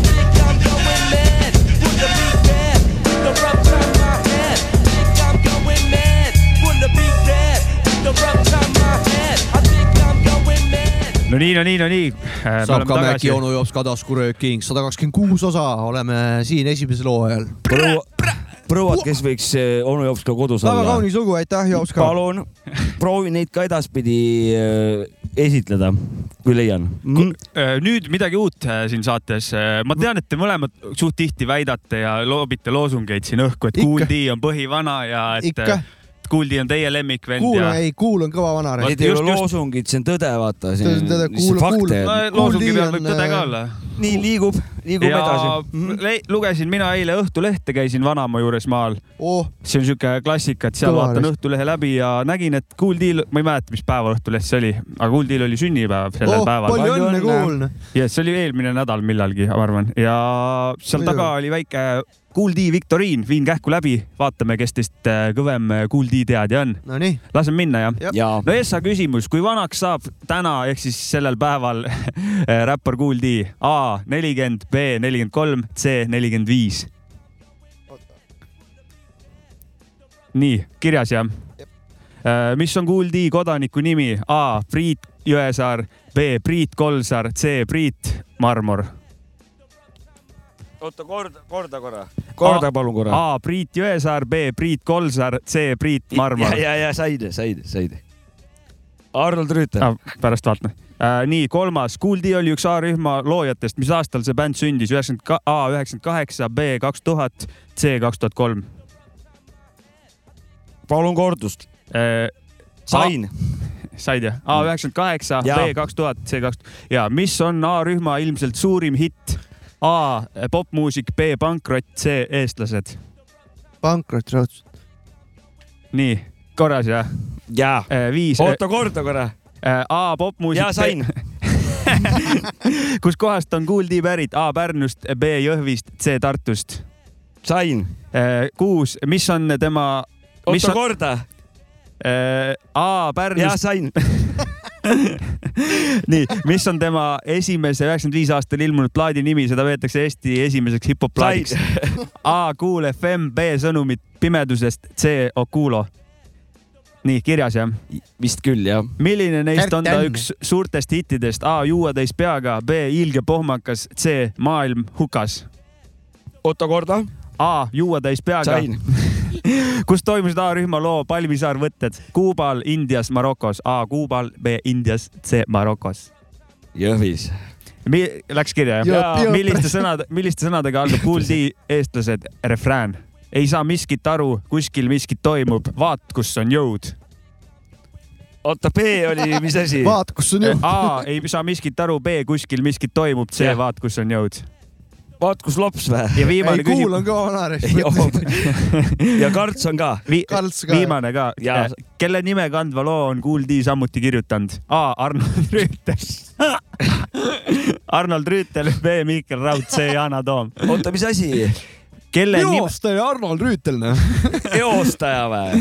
[SPEAKER 4] no nii , no nii , no nii .
[SPEAKER 2] saab ka Mäki . onu jops ka taskurööking , sada kakskümmend kuus osa , oleme siin esimesel hooajal .
[SPEAKER 3] proua , prouad , kes võiks eh, onu jops ka kodus
[SPEAKER 2] väga
[SPEAKER 3] olla .
[SPEAKER 2] kaunis lugu , aitäh , Jops ka .
[SPEAKER 3] palun , proovi neid ka edaspidi eh, esitleda , kui leian .
[SPEAKER 2] Mm.
[SPEAKER 4] äh, nüüd midagi uut eh, siin saates . ma tean , et te mõlemad suht tihti väidate ja loobite loosungeid siin õhku , et
[SPEAKER 2] Ikka.
[SPEAKER 4] Kool D on põhivana ja et
[SPEAKER 2] Ikka.
[SPEAKER 4] Kool D on teie lemmikvend
[SPEAKER 2] kuul
[SPEAKER 4] ja
[SPEAKER 2] on , ei , kuul on kõva vana .
[SPEAKER 3] Need ei
[SPEAKER 4] just-
[SPEAKER 3] ole
[SPEAKER 4] just-
[SPEAKER 3] loosungid , see on tõde , vaata .
[SPEAKER 2] See on tõde, kuula- kuula-
[SPEAKER 4] no,
[SPEAKER 3] fakte .
[SPEAKER 4] loosungi
[SPEAKER 2] Kool D
[SPEAKER 4] peal võib
[SPEAKER 2] on,
[SPEAKER 4] tõde ka
[SPEAKER 2] eh,
[SPEAKER 4] olla .
[SPEAKER 3] nii liigub , liigub
[SPEAKER 4] ja
[SPEAKER 2] Mm.
[SPEAKER 3] edasi .
[SPEAKER 4] le- lugesin mina eile Õhtulehte , käisin vanaema juures maal ,
[SPEAKER 2] oh ,
[SPEAKER 4] see on siuke klassika , et seal
[SPEAKER 2] Kõva
[SPEAKER 4] vaatan
[SPEAKER 2] arvest.
[SPEAKER 4] Õhtulehe läbi ja nägin , et Kool D , ma ei mäleta , mis päeva Õhtuleht see oli , aga Kool D-l oli sünnipäev sellel
[SPEAKER 2] oh ,
[SPEAKER 4] päeval .
[SPEAKER 2] palju
[SPEAKER 3] Palju
[SPEAKER 2] õnne ,
[SPEAKER 3] õnne.
[SPEAKER 2] kuul .
[SPEAKER 4] ja see oli eelmine nädal millalgi , ma arvan , ja seal
[SPEAKER 2] Muidugi.
[SPEAKER 4] taga oli väike Kool D viktoriin , viin kähku läbi , vaatame , kes teist äh, kõvem äh, Kool D teadja on .
[SPEAKER 2] Nonii ,
[SPEAKER 4] laseme minna , jah ?
[SPEAKER 2] jah.
[SPEAKER 3] ja
[SPEAKER 4] no Essa küsimus , kui vanaks saab täna ehk siis sellel päeval äh, räppar Kool D A nelikümmend , B nelikümmend kolm , C nelikümmend viis ? nii , kirjas jah ? Äh, mis on Kool D kodaniku nimi ? A Priit Jõesaar , B Priit Kolsar , C Priit Marmor .
[SPEAKER 3] oota , korda , korda korra . korda palun korra .
[SPEAKER 4] A Priit Jõesaar , B Priit Kolsar , C Priit Marmor
[SPEAKER 3] ja ,. ja , ja said , said , said . Arnold Rüütel
[SPEAKER 4] ah, . pärast vaatame äh, . nii , kolmas , Kool D oli üks A-rühma loojatest , mis aastal see bänd sündis , üheksakümmend , A üheksakümmend kaheksa , B kaks tuhat , C kaks tuhat kolm .
[SPEAKER 3] palun kordust . sain .
[SPEAKER 4] said jah ? Äh, A üheksakümmend kaheksa ,
[SPEAKER 3] Jaa.
[SPEAKER 4] B kaks tuhat , C kaks ja mis on A-rühma ilmselt suurim hitt ? A popmuusik , B pankrot , C eestlased .
[SPEAKER 2] pankrot raudselt .
[SPEAKER 4] nii , korras jah ?
[SPEAKER 3] jaa .
[SPEAKER 4] viis . äh,
[SPEAKER 3] oota , korda korra .
[SPEAKER 4] A popmuusik .
[SPEAKER 3] jaa , sain .
[SPEAKER 4] kuskohast on Kool D pärit ? A Pärnust , B Jõhvist , C Tartust
[SPEAKER 3] sain .
[SPEAKER 4] Eh, kuus , mis on tema , mis
[SPEAKER 3] oota ,
[SPEAKER 4] on
[SPEAKER 3] korda .
[SPEAKER 4] eh, A
[SPEAKER 3] jaa ,
[SPEAKER 4] Pärnust ,
[SPEAKER 3] sain .
[SPEAKER 4] nii , mis on tema esimese üheksakümmend viis aastal ilmunud plaadi nimi , seda peetakse Eesti esimeseks hip-hop plaadiks . A Cool FM , B Sõnumid pimedusest , C Okulo . nii , kirjas jah .
[SPEAKER 3] vist küll , jah .
[SPEAKER 4] milline neist on ta
[SPEAKER 2] Kärtan.
[SPEAKER 4] üks suurtest hittidest ? A Juueteist peaga , B Ilge pohmakas , C Maailm hukas .
[SPEAKER 3] oota , korda .
[SPEAKER 4] A Juueteist peaga ,
[SPEAKER 3] sain .
[SPEAKER 4] kus toimusid A-rühma loo Palmisaar võtted Kuubal , Indias , Marokos . A Kuubal , B Indias , C Marokos .
[SPEAKER 3] Jõhvis .
[SPEAKER 4] Läks kirja
[SPEAKER 2] Jõp,
[SPEAKER 4] jah ?
[SPEAKER 2] jõp.
[SPEAKER 4] milliste sõnade , milliste sõnadega algab Kool D eestlased refrään ? ei saa miskit aru , kuskil miskit toimub , vaat kus on jõud .
[SPEAKER 3] oota , B oli , mis asi ?
[SPEAKER 2] vaat , kus on jõud .
[SPEAKER 4] A ei saa miskit aru , B kuskil miskit toimub , C
[SPEAKER 3] Jah.
[SPEAKER 4] vaat kus on jõud .
[SPEAKER 3] vaat kus lops või ?
[SPEAKER 4] ja viimane
[SPEAKER 2] ei , kuul
[SPEAKER 4] küsimus
[SPEAKER 2] on . kõva vana raudselt .
[SPEAKER 3] ja Karts on ka .
[SPEAKER 4] Vi
[SPEAKER 2] Karls ka.
[SPEAKER 4] viimane ka Eh,
[SPEAKER 3] Jaa. .
[SPEAKER 4] kelle nime kandva loo on Kool D samuti kirjutanud ? A Arnold Rüütel . Arnold Rüütel , B Mihkel Raud , C Yana Toom .
[SPEAKER 3] oota , mis asi ?
[SPEAKER 4] kelle
[SPEAKER 2] minu
[SPEAKER 4] nime ,
[SPEAKER 2] arust oli Arnold Rüütel , noh .
[SPEAKER 3] eostaja või ?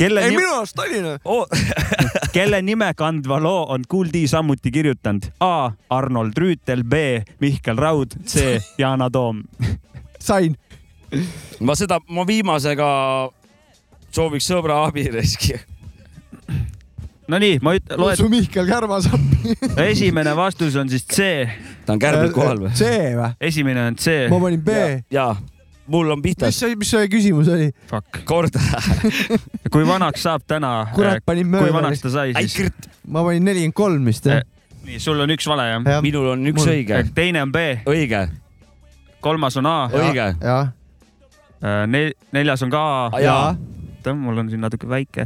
[SPEAKER 4] kelle
[SPEAKER 2] ei ,
[SPEAKER 4] nime ,
[SPEAKER 2] minu arust oli , noh .
[SPEAKER 4] kelle nime kandva loo on Kool D samuti kirjutanud ? A Arnold Rüütel , B Mihkel Raud , C Yana Toom .
[SPEAKER 2] sain .
[SPEAKER 3] ma seda , ma viimasega sooviks sõbra abi riski .
[SPEAKER 4] Nonii , ma üt- , loed ,
[SPEAKER 2] su Mihkel Kärmas appi .
[SPEAKER 4] esimene vastus on siis C ,
[SPEAKER 3] ta on kärbel kohal või ?
[SPEAKER 2] C või ?
[SPEAKER 4] esimene on C .
[SPEAKER 2] ma panin B .
[SPEAKER 3] jaa , mul on pihtas
[SPEAKER 2] mis . see , mis see küsimus oli ?
[SPEAKER 4] Fuck .
[SPEAKER 3] korda .
[SPEAKER 4] kui vanaks saab täna ?
[SPEAKER 2] Kurat, panin
[SPEAKER 4] kui
[SPEAKER 2] mööda
[SPEAKER 4] vanaks
[SPEAKER 2] vist.
[SPEAKER 4] ta sai siis ?
[SPEAKER 3] Aikrit ,
[SPEAKER 2] ma panin nelikümmend kolm vist , jah
[SPEAKER 4] Eh, ? nii , sul on üks vale jah ?
[SPEAKER 2] jah ,
[SPEAKER 3] minul on üks
[SPEAKER 2] Mul-
[SPEAKER 3] õige ,
[SPEAKER 4] teine on B ,
[SPEAKER 3] õige ,
[SPEAKER 4] kolmas on A ,
[SPEAKER 3] õige .
[SPEAKER 2] jah .
[SPEAKER 4] nel- , neljas on ka A ,
[SPEAKER 3] jaa ,
[SPEAKER 4] oota , mul on siin natuke väike .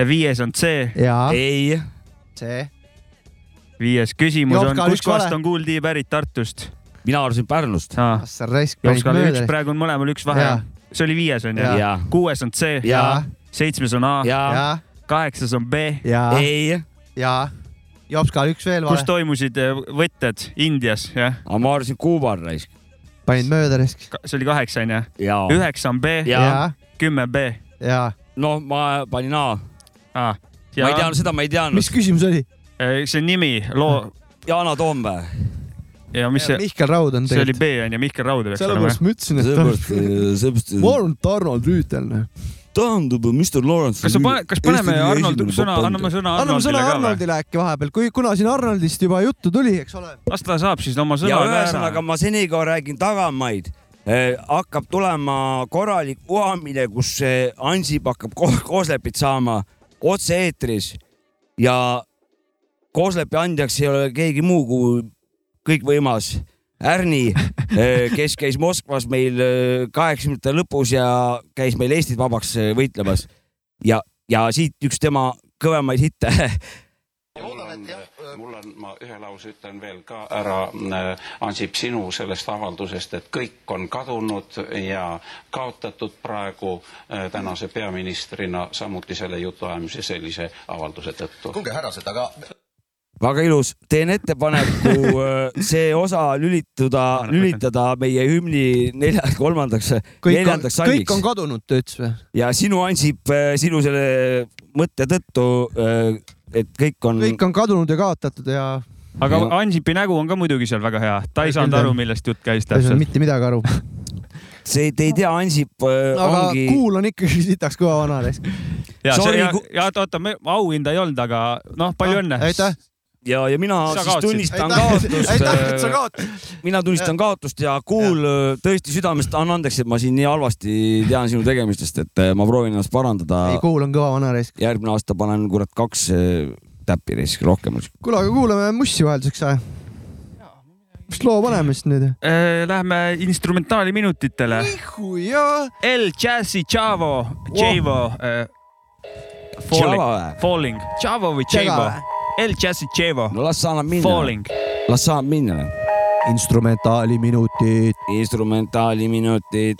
[SPEAKER 4] viies on C ,
[SPEAKER 2] jaa .
[SPEAKER 3] ei ,
[SPEAKER 2] C .
[SPEAKER 4] viies küsimus on ,
[SPEAKER 2] Jopskal üks
[SPEAKER 4] kuskohast
[SPEAKER 2] vale.
[SPEAKER 4] on Kool D pärit Tartust ?
[SPEAKER 3] mina arvasin Pärnust .
[SPEAKER 4] Jopskal
[SPEAKER 2] raisk , panin
[SPEAKER 4] üks ,
[SPEAKER 2] mööda .
[SPEAKER 4] praegu on mõlemal üks vahe
[SPEAKER 2] Jaa. .
[SPEAKER 4] see oli viies onju
[SPEAKER 2] Jaa. ?
[SPEAKER 4] kuues on C ,
[SPEAKER 2] ja ,
[SPEAKER 4] seitsmes on A ,
[SPEAKER 3] ja ,
[SPEAKER 2] ja ,
[SPEAKER 4] kaheksas on B ,
[SPEAKER 2] ja ,
[SPEAKER 3] ei ,
[SPEAKER 2] ja . Jopska üks veel
[SPEAKER 4] kus
[SPEAKER 2] vale .
[SPEAKER 4] toimusid eh, võtted Indias , jah ,
[SPEAKER 3] aga ma arvasin Kuubal raisk .
[SPEAKER 2] panin mööda risk .
[SPEAKER 4] see oli kaheksa onju ,
[SPEAKER 3] ja ,
[SPEAKER 4] üheksa on B ,
[SPEAKER 3] Ja.
[SPEAKER 2] ja ,
[SPEAKER 4] kümme B .
[SPEAKER 2] ja .
[SPEAKER 3] noh , ma panin A ,
[SPEAKER 4] ma
[SPEAKER 3] ma ei teadnud , seda ma ei teadnud .
[SPEAKER 2] mis küsimus oli ?
[SPEAKER 4] see nimi , loo
[SPEAKER 3] Yana Hmm. Toom või ?
[SPEAKER 4] ja mis see ,
[SPEAKER 2] Mihkel Raud on
[SPEAKER 4] see oli
[SPEAKER 2] tegelikult .
[SPEAKER 4] B onju , Mihkel Raud peaks olema
[SPEAKER 2] sellepärast ma ütlesin , et ta on
[SPEAKER 3] seepärast , seepärast ,
[SPEAKER 2] ma arvan , et Arnold Rüütel .
[SPEAKER 3] äh,
[SPEAKER 2] noh.
[SPEAKER 3] taandub Mr Lawrence .
[SPEAKER 4] kas sa pane , kas paneme Arnold sõna , anname sõna
[SPEAKER 2] anname sõna
[SPEAKER 4] Arnoldile ka või ?
[SPEAKER 2] Arnoldile äkki vahepeal , kui , kuna siin Arnoldist juba juttu tuli , eks ole .
[SPEAKER 4] las ta saab siis oma
[SPEAKER 3] ja
[SPEAKER 4] sõna ka
[SPEAKER 3] ühesõnaga
[SPEAKER 4] ära .
[SPEAKER 3] ma seniga räägin tagamaid eh, , hakkab tulema korralik uhamine , kus eh, Ansip hakkab ko kooslepit saama otse-eetris ja kooslepi andjaks ei ole keegi muu kui kõikvõimas Ärni , kes käis Moskvas meil eh, kaheksakümnendate lõpus ja käis meil Eestit vabaks eh, võitlemas ja , ja siit üks tema kõvemaid hitte
[SPEAKER 8] mul on , mul
[SPEAKER 9] äh,
[SPEAKER 8] on , ma ühe lause ütlen veel ka ära , Ansip , sinu sellest avaldusest , et kõik on kadunud ja kaotatud praegu äh, tänase peaministrina , samuti selle jutuajamise sellise avalduse tõttu .
[SPEAKER 9] kuulge härrased , aga
[SPEAKER 3] väga ilus , teen ettepaneku äh, see osa lülituda , lülitada meie hümni nelja , kolmandaks ,
[SPEAKER 2] kõik on ,
[SPEAKER 3] neljandaks
[SPEAKER 2] kõik on
[SPEAKER 3] salmiks
[SPEAKER 2] kadunud , ta ütles või ?
[SPEAKER 3] ja sinu Ansip , sinu selle mõtte tõttu , et kõik on,
[SPEAKER 2] kõik on kadunud ja kaotatud ja
[SPEAKER 4] aga
[SPEAKER 3] Ja-
[SPEAKER 4] Ansipi nägu on ka muidugi seal väga hea , ta ei saanud
[SPEAKER 2] Küll ta
[SPEAKER 4] aru ,
[SPEAKER 2] on.
[SPEAKER 4] millest jutt käis
[SPEAKER 2] ta ei saanud
[SPEAKER 4] täpselt .
[SPEAKER 2] mitte midagi aru .
[SPEAKER 3] see , te ei tea , Ansip äh,
[SPEAKER 2] aga
[SPEAKER 3] ongi
[SPEAKER 2] kuul on ikkagi sitaks kõva vana risk .
[SPEAKER 4] ja
[SPEAKER 3] Sorry,
[SPEAKER 4] see ja
[SPEAKER 3] ku- ,
[SPEAKER 4] ja oota , me auhinda ei olnud , aga noh , palju õnne .
[SPEAKER 2] Ah, aitäh ,
[SPEAKER 3] ja , ja mina
[SPEAKER 4] Sa
[SPEAKER 3] siis
[SPEAKER 4] kaotsid.
[SPEAKER 3] tunnistan
[SPEAKER 2] aitäh , et
[SPEAKER 3] kaotust
[SPEAKER 2] sa . kaotasid .
[SPEAKER 3] mina
[SPEAKER 2] Äh.
[SPEAKER 3] tunnistan kaotust ja kuul äh, tõesti südamest , anna andeks , et ma siin nii halvasti tean sinu tegemistest , et äh, ma proovin ennast parandada .
[SPEAKER 2] ei , kuul on kõva vana risk .
[SPEAKER 3] järgmine aasta panen kurat kaks äh, täppi risk rohkem .
[SPEAKER 2] kuule , aga kuulame Mussi vahelduseks või ? mis loo paneme siis nüüd ?
[SPEAKER 4] Läheme Äh, instrumentaaliminutitele .
[SPEAKER 2] jaa .
[SPEAKER 4] El Jazzy Chavo , Chavo . äh, Falling , Falling , Chavo või Chavo
[SPEAKER 2] Chava. ?
[SPEAKER 4] El Jazzy Chavo ,
[SPEAKER 3] no las sa annab minna ,
[SPEAKER 4] Falling .
[SPEAKER 3] las sa annab minna .
[SPEAKER 2] instrumentaaliminutid .
[SPEAKER 3] instrumentaali minutid .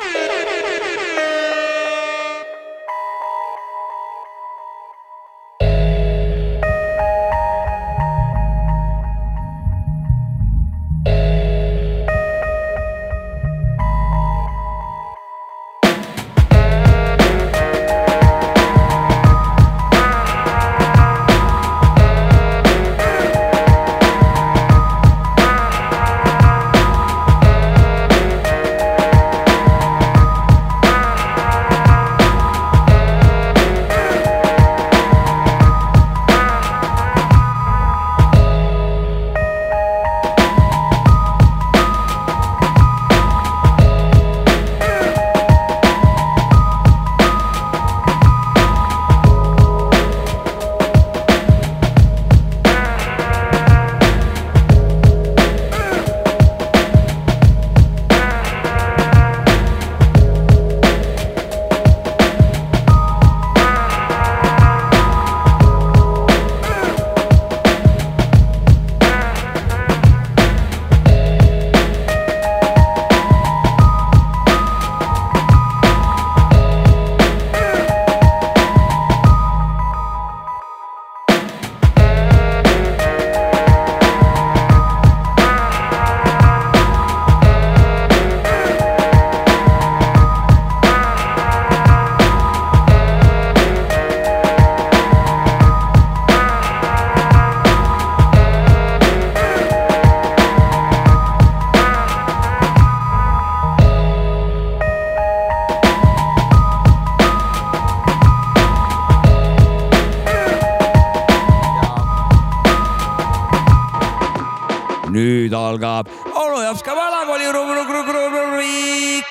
[SPEAKER 3] nüüd algab Olo Japska vanakooli ru- ru- ru- ru- rubriik .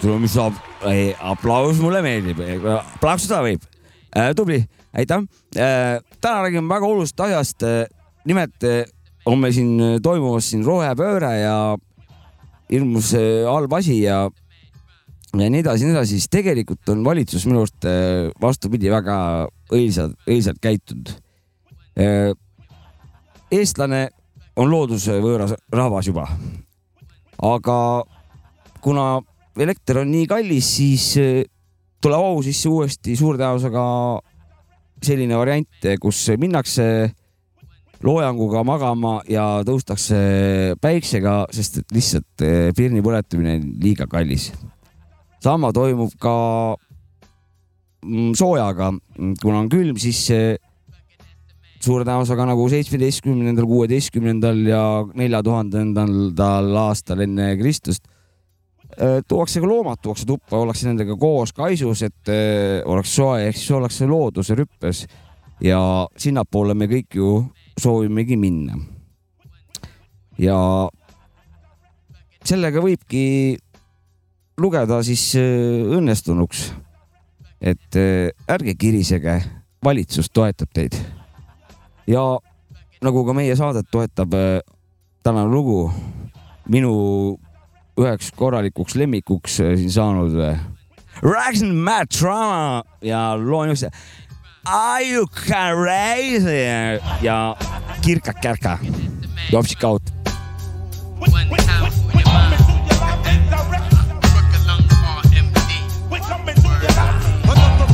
[SPEAKER 3] tule , mis saab , aplaus mulle meeldib , plaksuda võib . tubli , aitäh . täna räägime väga olulisest asjast . nimelt eh, on meil siin eh, toimumas siin rohepööre ja hirmus eh, halb asi ja ja nii edasi ja nii edasi , siis tegelikult on valitsus minu arust eh, vastupidi väga õilsalt , õilsalt käitunud . eestlane on looduse võõras rahvas juba aga kuna elekter on nii kallis , siis eh, tuleb au sisse uuesti suure tõenäosusega selline variant , kus minnakse loojanguga magama ja tõustakse päiksega , sest et lihtsalt eh, pirni põletamine on liiga kallis . sama toimub ka mm, soojaga , kuna on külm , siis eh, suure tõenäosusega nagu seitsmeteistkümnendal , kuueteistkümnendal ja nelja tuhandendal aastal enne Kristust eh, tuuakse ka loomad , tuuakse tuppa , ollakse nendega koos kaisus , et eh, oleks soe , ehk siis ollakse looduse rüppes ja sinnapoole me kõik ju soovimegi minna . ja sellega võibki lugeda siis eh, õnnestunuks . et eh, ärge kirisege , valitsus toetab teid . ja nagu ka meie saadet toetab eh, tänane lugu minu üheks korralikuks lemmikuks eh, siin saanud . Rags and Matt Drama ja loo on just Are you crazy ja Kirka Kärka , Jopsik out .
[SPEAKER 9] One time for your mind. Work along RMD.
[SPEAKER 10] Enough to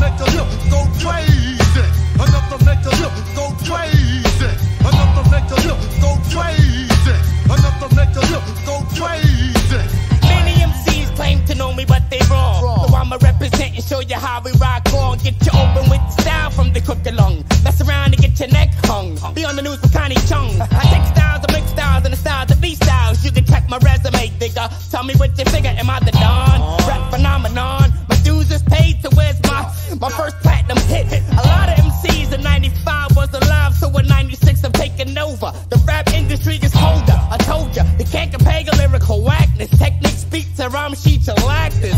[SPEAKER 10] make a nigga go crazy. Enough to make a nigga go crazy. Enough to make a nigga go crazy. Enough to make a nigga go crazy.
[SPEAKER 9] Many MCs claim to know me, but they wrong. So I'ma represent and show you how we rock on. Get you open with the style from the crook along. Mess around and get your neck hung. Be on the news with Connie Chung. I take styles, I make styles, and the styles of these styles. You can check my resume, digga. Tell me what you figure. Am I the Don? Rap phenomenon. My dues is paid, so where's my my first platinum hit? A lot of MCs in '95 was alive, so in '96 I'm taking over. The rap industry is colder. I told ya, they can't compare your lyrical whackness. Technique speaks to rhyme sheets and lactis.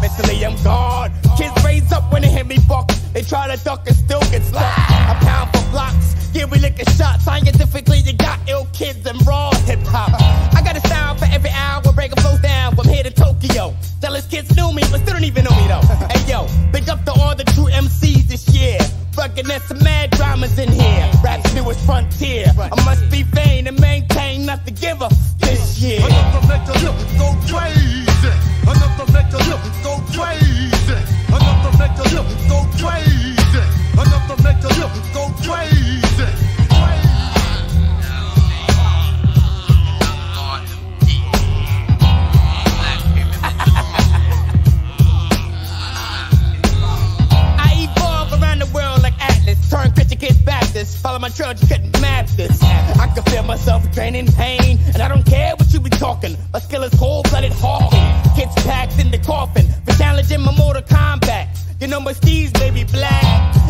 [SPEAKER 9] Mentally I'm gone. Kids raise up when they hit me buck. They try to duck and still get stuck. I pound for blocks. Yeah, we licking shots. Scientifically, you got ill kids and raw hip hop. I got a style for every hour, break a flow down from here to Tokyo. Dallas kids knew me, but still don't even know me though. hey yo, big up to all the true MCs this year. Fucking there's some mad dramas in here. Rap's newest frontier. I must be vain and maintain not to give a this year.
[SPEAKER 10] Enough to make a nigga go crazy. Enough to make a nigga go crazy. Enough to make a nigga go crazy. Enough to make a nigga go crazy.
[SPEAKER 9] I evolve around the world like Atlas. Turn Christian kids Baptist. Follow my trail, you couldn't map this. I can feel myself draining pain, and I don't care what you be talking. My skill is cold blooded hawking. Kids packed in the coffin for challenging my mortal combat. You know my steez may be black.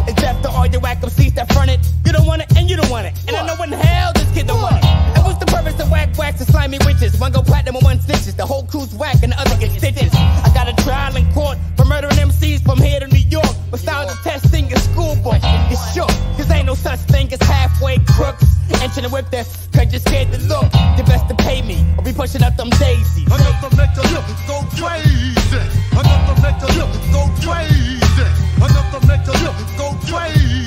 [SPEAKER 9] It's after all your whack seats that front it. You don't want it, and you don't want it. And I know in hell this kid don't want it. And what's the purpose of whack wax and slimy witches? One go platinum and one stitches. The whole crew's whack and the other gets stitches. I got a trial in court for murdering MCs from here to New York. But styles of testing is schoolboy. It's shook. Cause ain't no such thing as halfway crooks. Inching the whip that cause you're scared to look. You best to pay me or be pushing up them daisies.
[SPEAKER 10] Enough to make a nigga go crazy. Enough to make a nigga go crazy. Enough to make a nigga go crazy.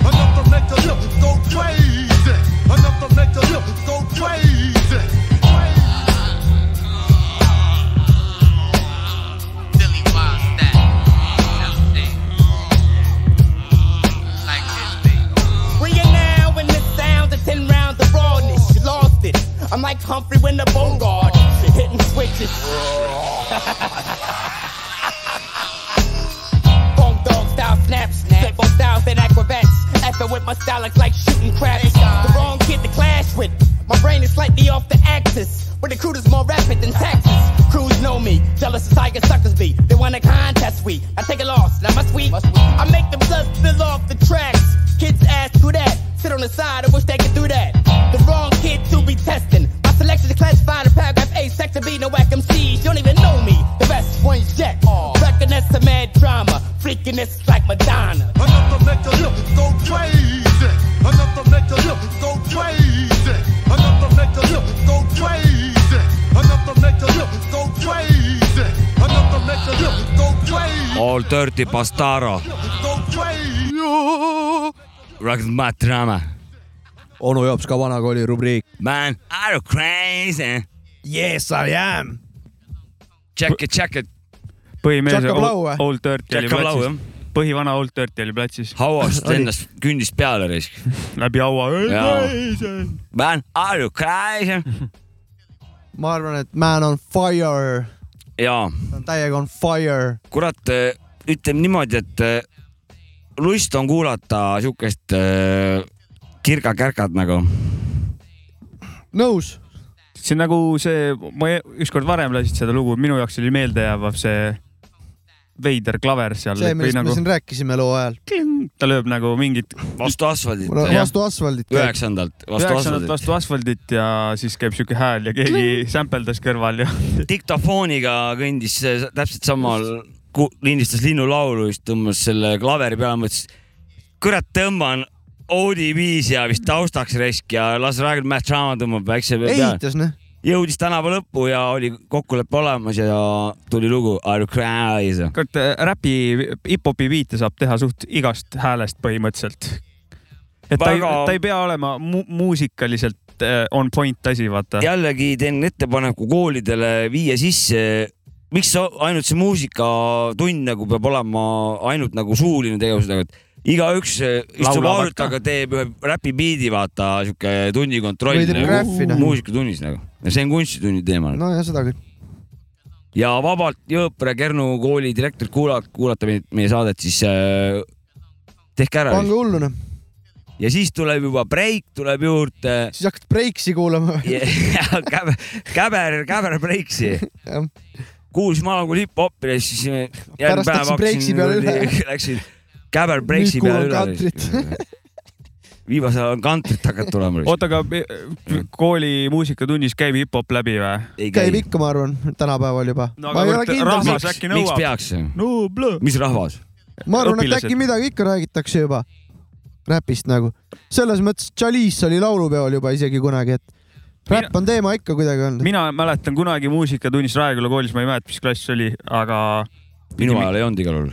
[SPEAKER 10] Enough to make a nigga go crazy. Enough to make a nigga go crazy.
[SPEAKER 9] Dilly Wild Stat. Like this thing. We are now in the sounds of ten rounds of rawness. You lost it. I'm like Humphrey when the Bogart hitting switches. Bone dog style snaps, step on styles and acrobats. Effing with my style it's like shooting craps. The wrong kid to clash with. My brain is slightly off the axis. Where the crew is more rapid than taxes. Crews know me, jealous as tiger suckers be. They wanna contest we. I take a loss, now must we? I make them blood spill off the tracks. Kids ask who that. Sit on the side and wish they could do that. The wrong kid to be testing. My selection is classified in paragraph A, section B, no whack MCs. You don't even know me. The best one's yet. Reckon that's a mad drama. Freaking this like Madonna.
[SPEAKER 10] Enough to make a nigga go crazy. Enough to make a nigga go crazy. Enough to make a nigga go crazy. Enough to make a nigga go crazy. Enough to make a nigga go crazy.
[SPEAKER 3] All dirty bastaro ,
[SPEAKER 10] Go crazy.
[SPEAKER 3] rock my drama .
[SPEAKER 11] onu jops ka vanakooli rubriik .
[SPEAKER 3] Man , are you crazy ?
[SPEAKER 2] Yes I am .
[SPEAKER 3] Jack , Jack ,
[SPEAKER 4] põhimees
[SPEAKER 2] Jack Ablau või?
[SPEAKER 4] Old Old Dirty oli
[SPEAKER 3] Jack Ablau, jah.
[SPEAKER 4] platsis . põhivana Old Dirty oli platsis
[SPEAKER 3] hauast lennast kündist peale risk .
[SPEAKER 4] läbi haua .
[SPEAKER 3] Jaa. Man , are you crazy ?
[SPEAKER 2] ma arvan , et man on fire ,
[SPEAKER 3] jaa ,
[SPEAKER 2] ta on täiega on fire .
[SPEAKER 3] kurat , ütleme niimoodi , et eh, lust on kuulata siukest eh, kirga-kärkat nagu .
[SPEAKER 2] nõus ,
[SPEAKER 4] see on nagu see , ma e- ükskord varem lasid seda lugu , minu jaoks oli meeldejäävav see veider klaver seal .
[SPEAKER 2] see , millest
[SPEAKER 4] nagu,
[SPEAKER 2] me siin rääkisime loo ajal .
[SPEAKER 4] siin... ta lööb nagu mingit
[SPEAKER 3] vastu asfaldit ,
[SPEAKER 2] mul on
[SPEAKER 4] Jah.
[SPEAKER 2] vastu asfaldit .
[SPEAKER 3] üheksandalt , vastu
[SPEAKER 4] üheksandat
[SPEAKER 3] asfaldit .
[SPEAKER 4] vastu asfaldit ja siis käib siuke hääl ja keegi sämpeldas kõrval ja
[SPEAKER 3] diktofooniga kõndis see s- täpselt samal , lindistas linnulaulu , siis tõmbas selle klaveri peale , mõtles , kurat , tõmban ODB siia vist taustaks risk ja las Ragnarök Matt Drama tõmbab väikse peale .
[SPEAKER 2] ehitas , noh .
[SPEAKER 3] jõudis tänava lõppu ja oli kokkulepe olemas ja tuli lugu Are you crazy ?
[SPEAKER 4] kurat eh, räpi , hip-hopi viite saab teha suht igast häälest põhimõtteliselt . et ta ei
[SPEAKER 3] Väga- ,
[SPEAKER 4] ta ei pea olema mu muusikaliselt eh, on point asi , vaata .
[SPEAKER 3] jällegi teen ettepaneku koolidele viia sisse , miks sa- ainult see muusikatund nagu peab olema ainult nagu suuline tegevus nagu , et igaüks eh, istub
[SPEAKER 4] Laulavad
[SPEAKER 3] laulutaga , teeb ühe räpibiidi , vaata siuke tunni kontroll
[SPEAKER 2] Või teeb
[SPEAKER 3] nagu,
[SPEAKER 2] graffi, noh.
[SPEAKER 3] muusikatunnis nagu ja see on kunstitunni teema no.
[SPEAKER 2] no ja seda küll .
[SPEAKER 3] ja vabalt Jõõpere Kernu kooli direktor kuulab , kuulata meie, meie saadet , siis äh, tehke ära
[SPEAKER 2] pange hullu , noh .
[SPEAKER 3] vist. ja siis tuleb juba breik tuleb juurde
[SPEAKER 2] siis hakkad Breiksi kuulama .
[SPEAKER 3] ja käber , käber , käber breiksi . kuulsin maal kui hip-hopi ja siis järgmine
[SPEAKER 2] Pärast
[SPEAKER 3] päev
[SPEAKER 2] läksid breiksi peale üle.
[SPEAKER 3] hakkasin , läksin käber breiksi
[SPEAKER 2] Nüüd
[SPEAKER 3] peale
[SPEAKER 2] kuulan
[SPEAKER 3] üle . viimasel ajal on kantrit hakanud tulema .
[SPEAKER 4] oota , aga eh, kooli muusikatunnis käib hip-hop läbi või ?
[SPEAKER 3] ei
[SPEAKER 2] käib
[SPEAKER 3] käi .
[SPEAKER 2] ikka , ma arvan , tänapäeval juba
[SPEAKER 4] No
[SPEAKER 2] no, .
[SPEAKER 4] aga
[SPEAKER 2] ma ei
[SPEAKER 4] kurat,
[SPEAKER 2] ole kindel ,
[SPEAKER 4] rahvas
[SPEAKER 3] miks
[SPEAKER 4] äkki ,
[SPEAKER 3] miks
[SPEAKER 4] nõuab?
[SPEAKER 3] peaks ?
[SPEAKER 4] no blõ- .
[SPEAKER 3] mis rahvas ?
[SPEAKER 2] ma arvan , et
[SPEAKER 4] õpilased.
[SPEAKER 2] äkki midagi ikka räägitakse juba räpist nagu . selles mõttes , Chalice oli laulupeol juba isegi kunagi , et räpp on teema ikka kuidagi olnud .
[SPEAKER 4] mina mäletan kunagi muusikatunnis Raeküla koolis , ma ei mäleta , mis klass see oli , aga
[SPEAKER 3] minu ajal ei olnud igal juhul .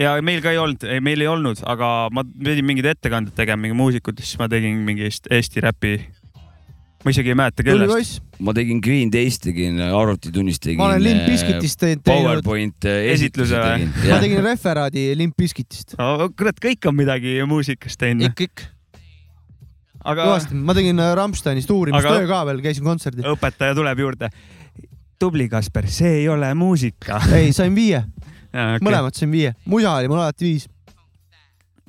[SPEAKER 4] ja meil ka ei olnud , meil ei olnud , aga ma pidin mingid ettekanded tegema mingi muusikutest , siis ma tegin mingist Eesti räpi . ma isegi ei mäleta
[SPEAKER 2] tuli
[SPEAKER 4] kellest .
[SPEAKER 2] poiss ,
[SPEAKER 3] ma tegin Green Day's tegin , arvutitunnis tegin .
[SPEAKER 2] ma olen Limp Bizkitist teinud , teinud ,
[SPEAKER 3] PowerPoint eh, esitluse
[SPEAKER 4] Esitluse või?
[SPEAKER 3] tegin .
[SPEAKER 2] ma tegin referaadi Limp Bizkitist .
[SPEAKER 4] kurat , kõik on midagi muusikas teinud .
[SPEAKER 2] ikka , ikka ,
[SPEAKER 4] aga
[SPEAKER 2] kõvasti . ma tegin äh, Rammsteinist uurimistöö
[SPEAKER 4] Aga-
[SPEAKER 2] ka veel , käisin kontserdil .
[SPEAKER 4] õpetaja tuleb juurde . tubli , Kasper , see ei ole muusika .
[SPEAKER 2] ei , sain viie , mõlemad sain viie . musa oli mul alati viis .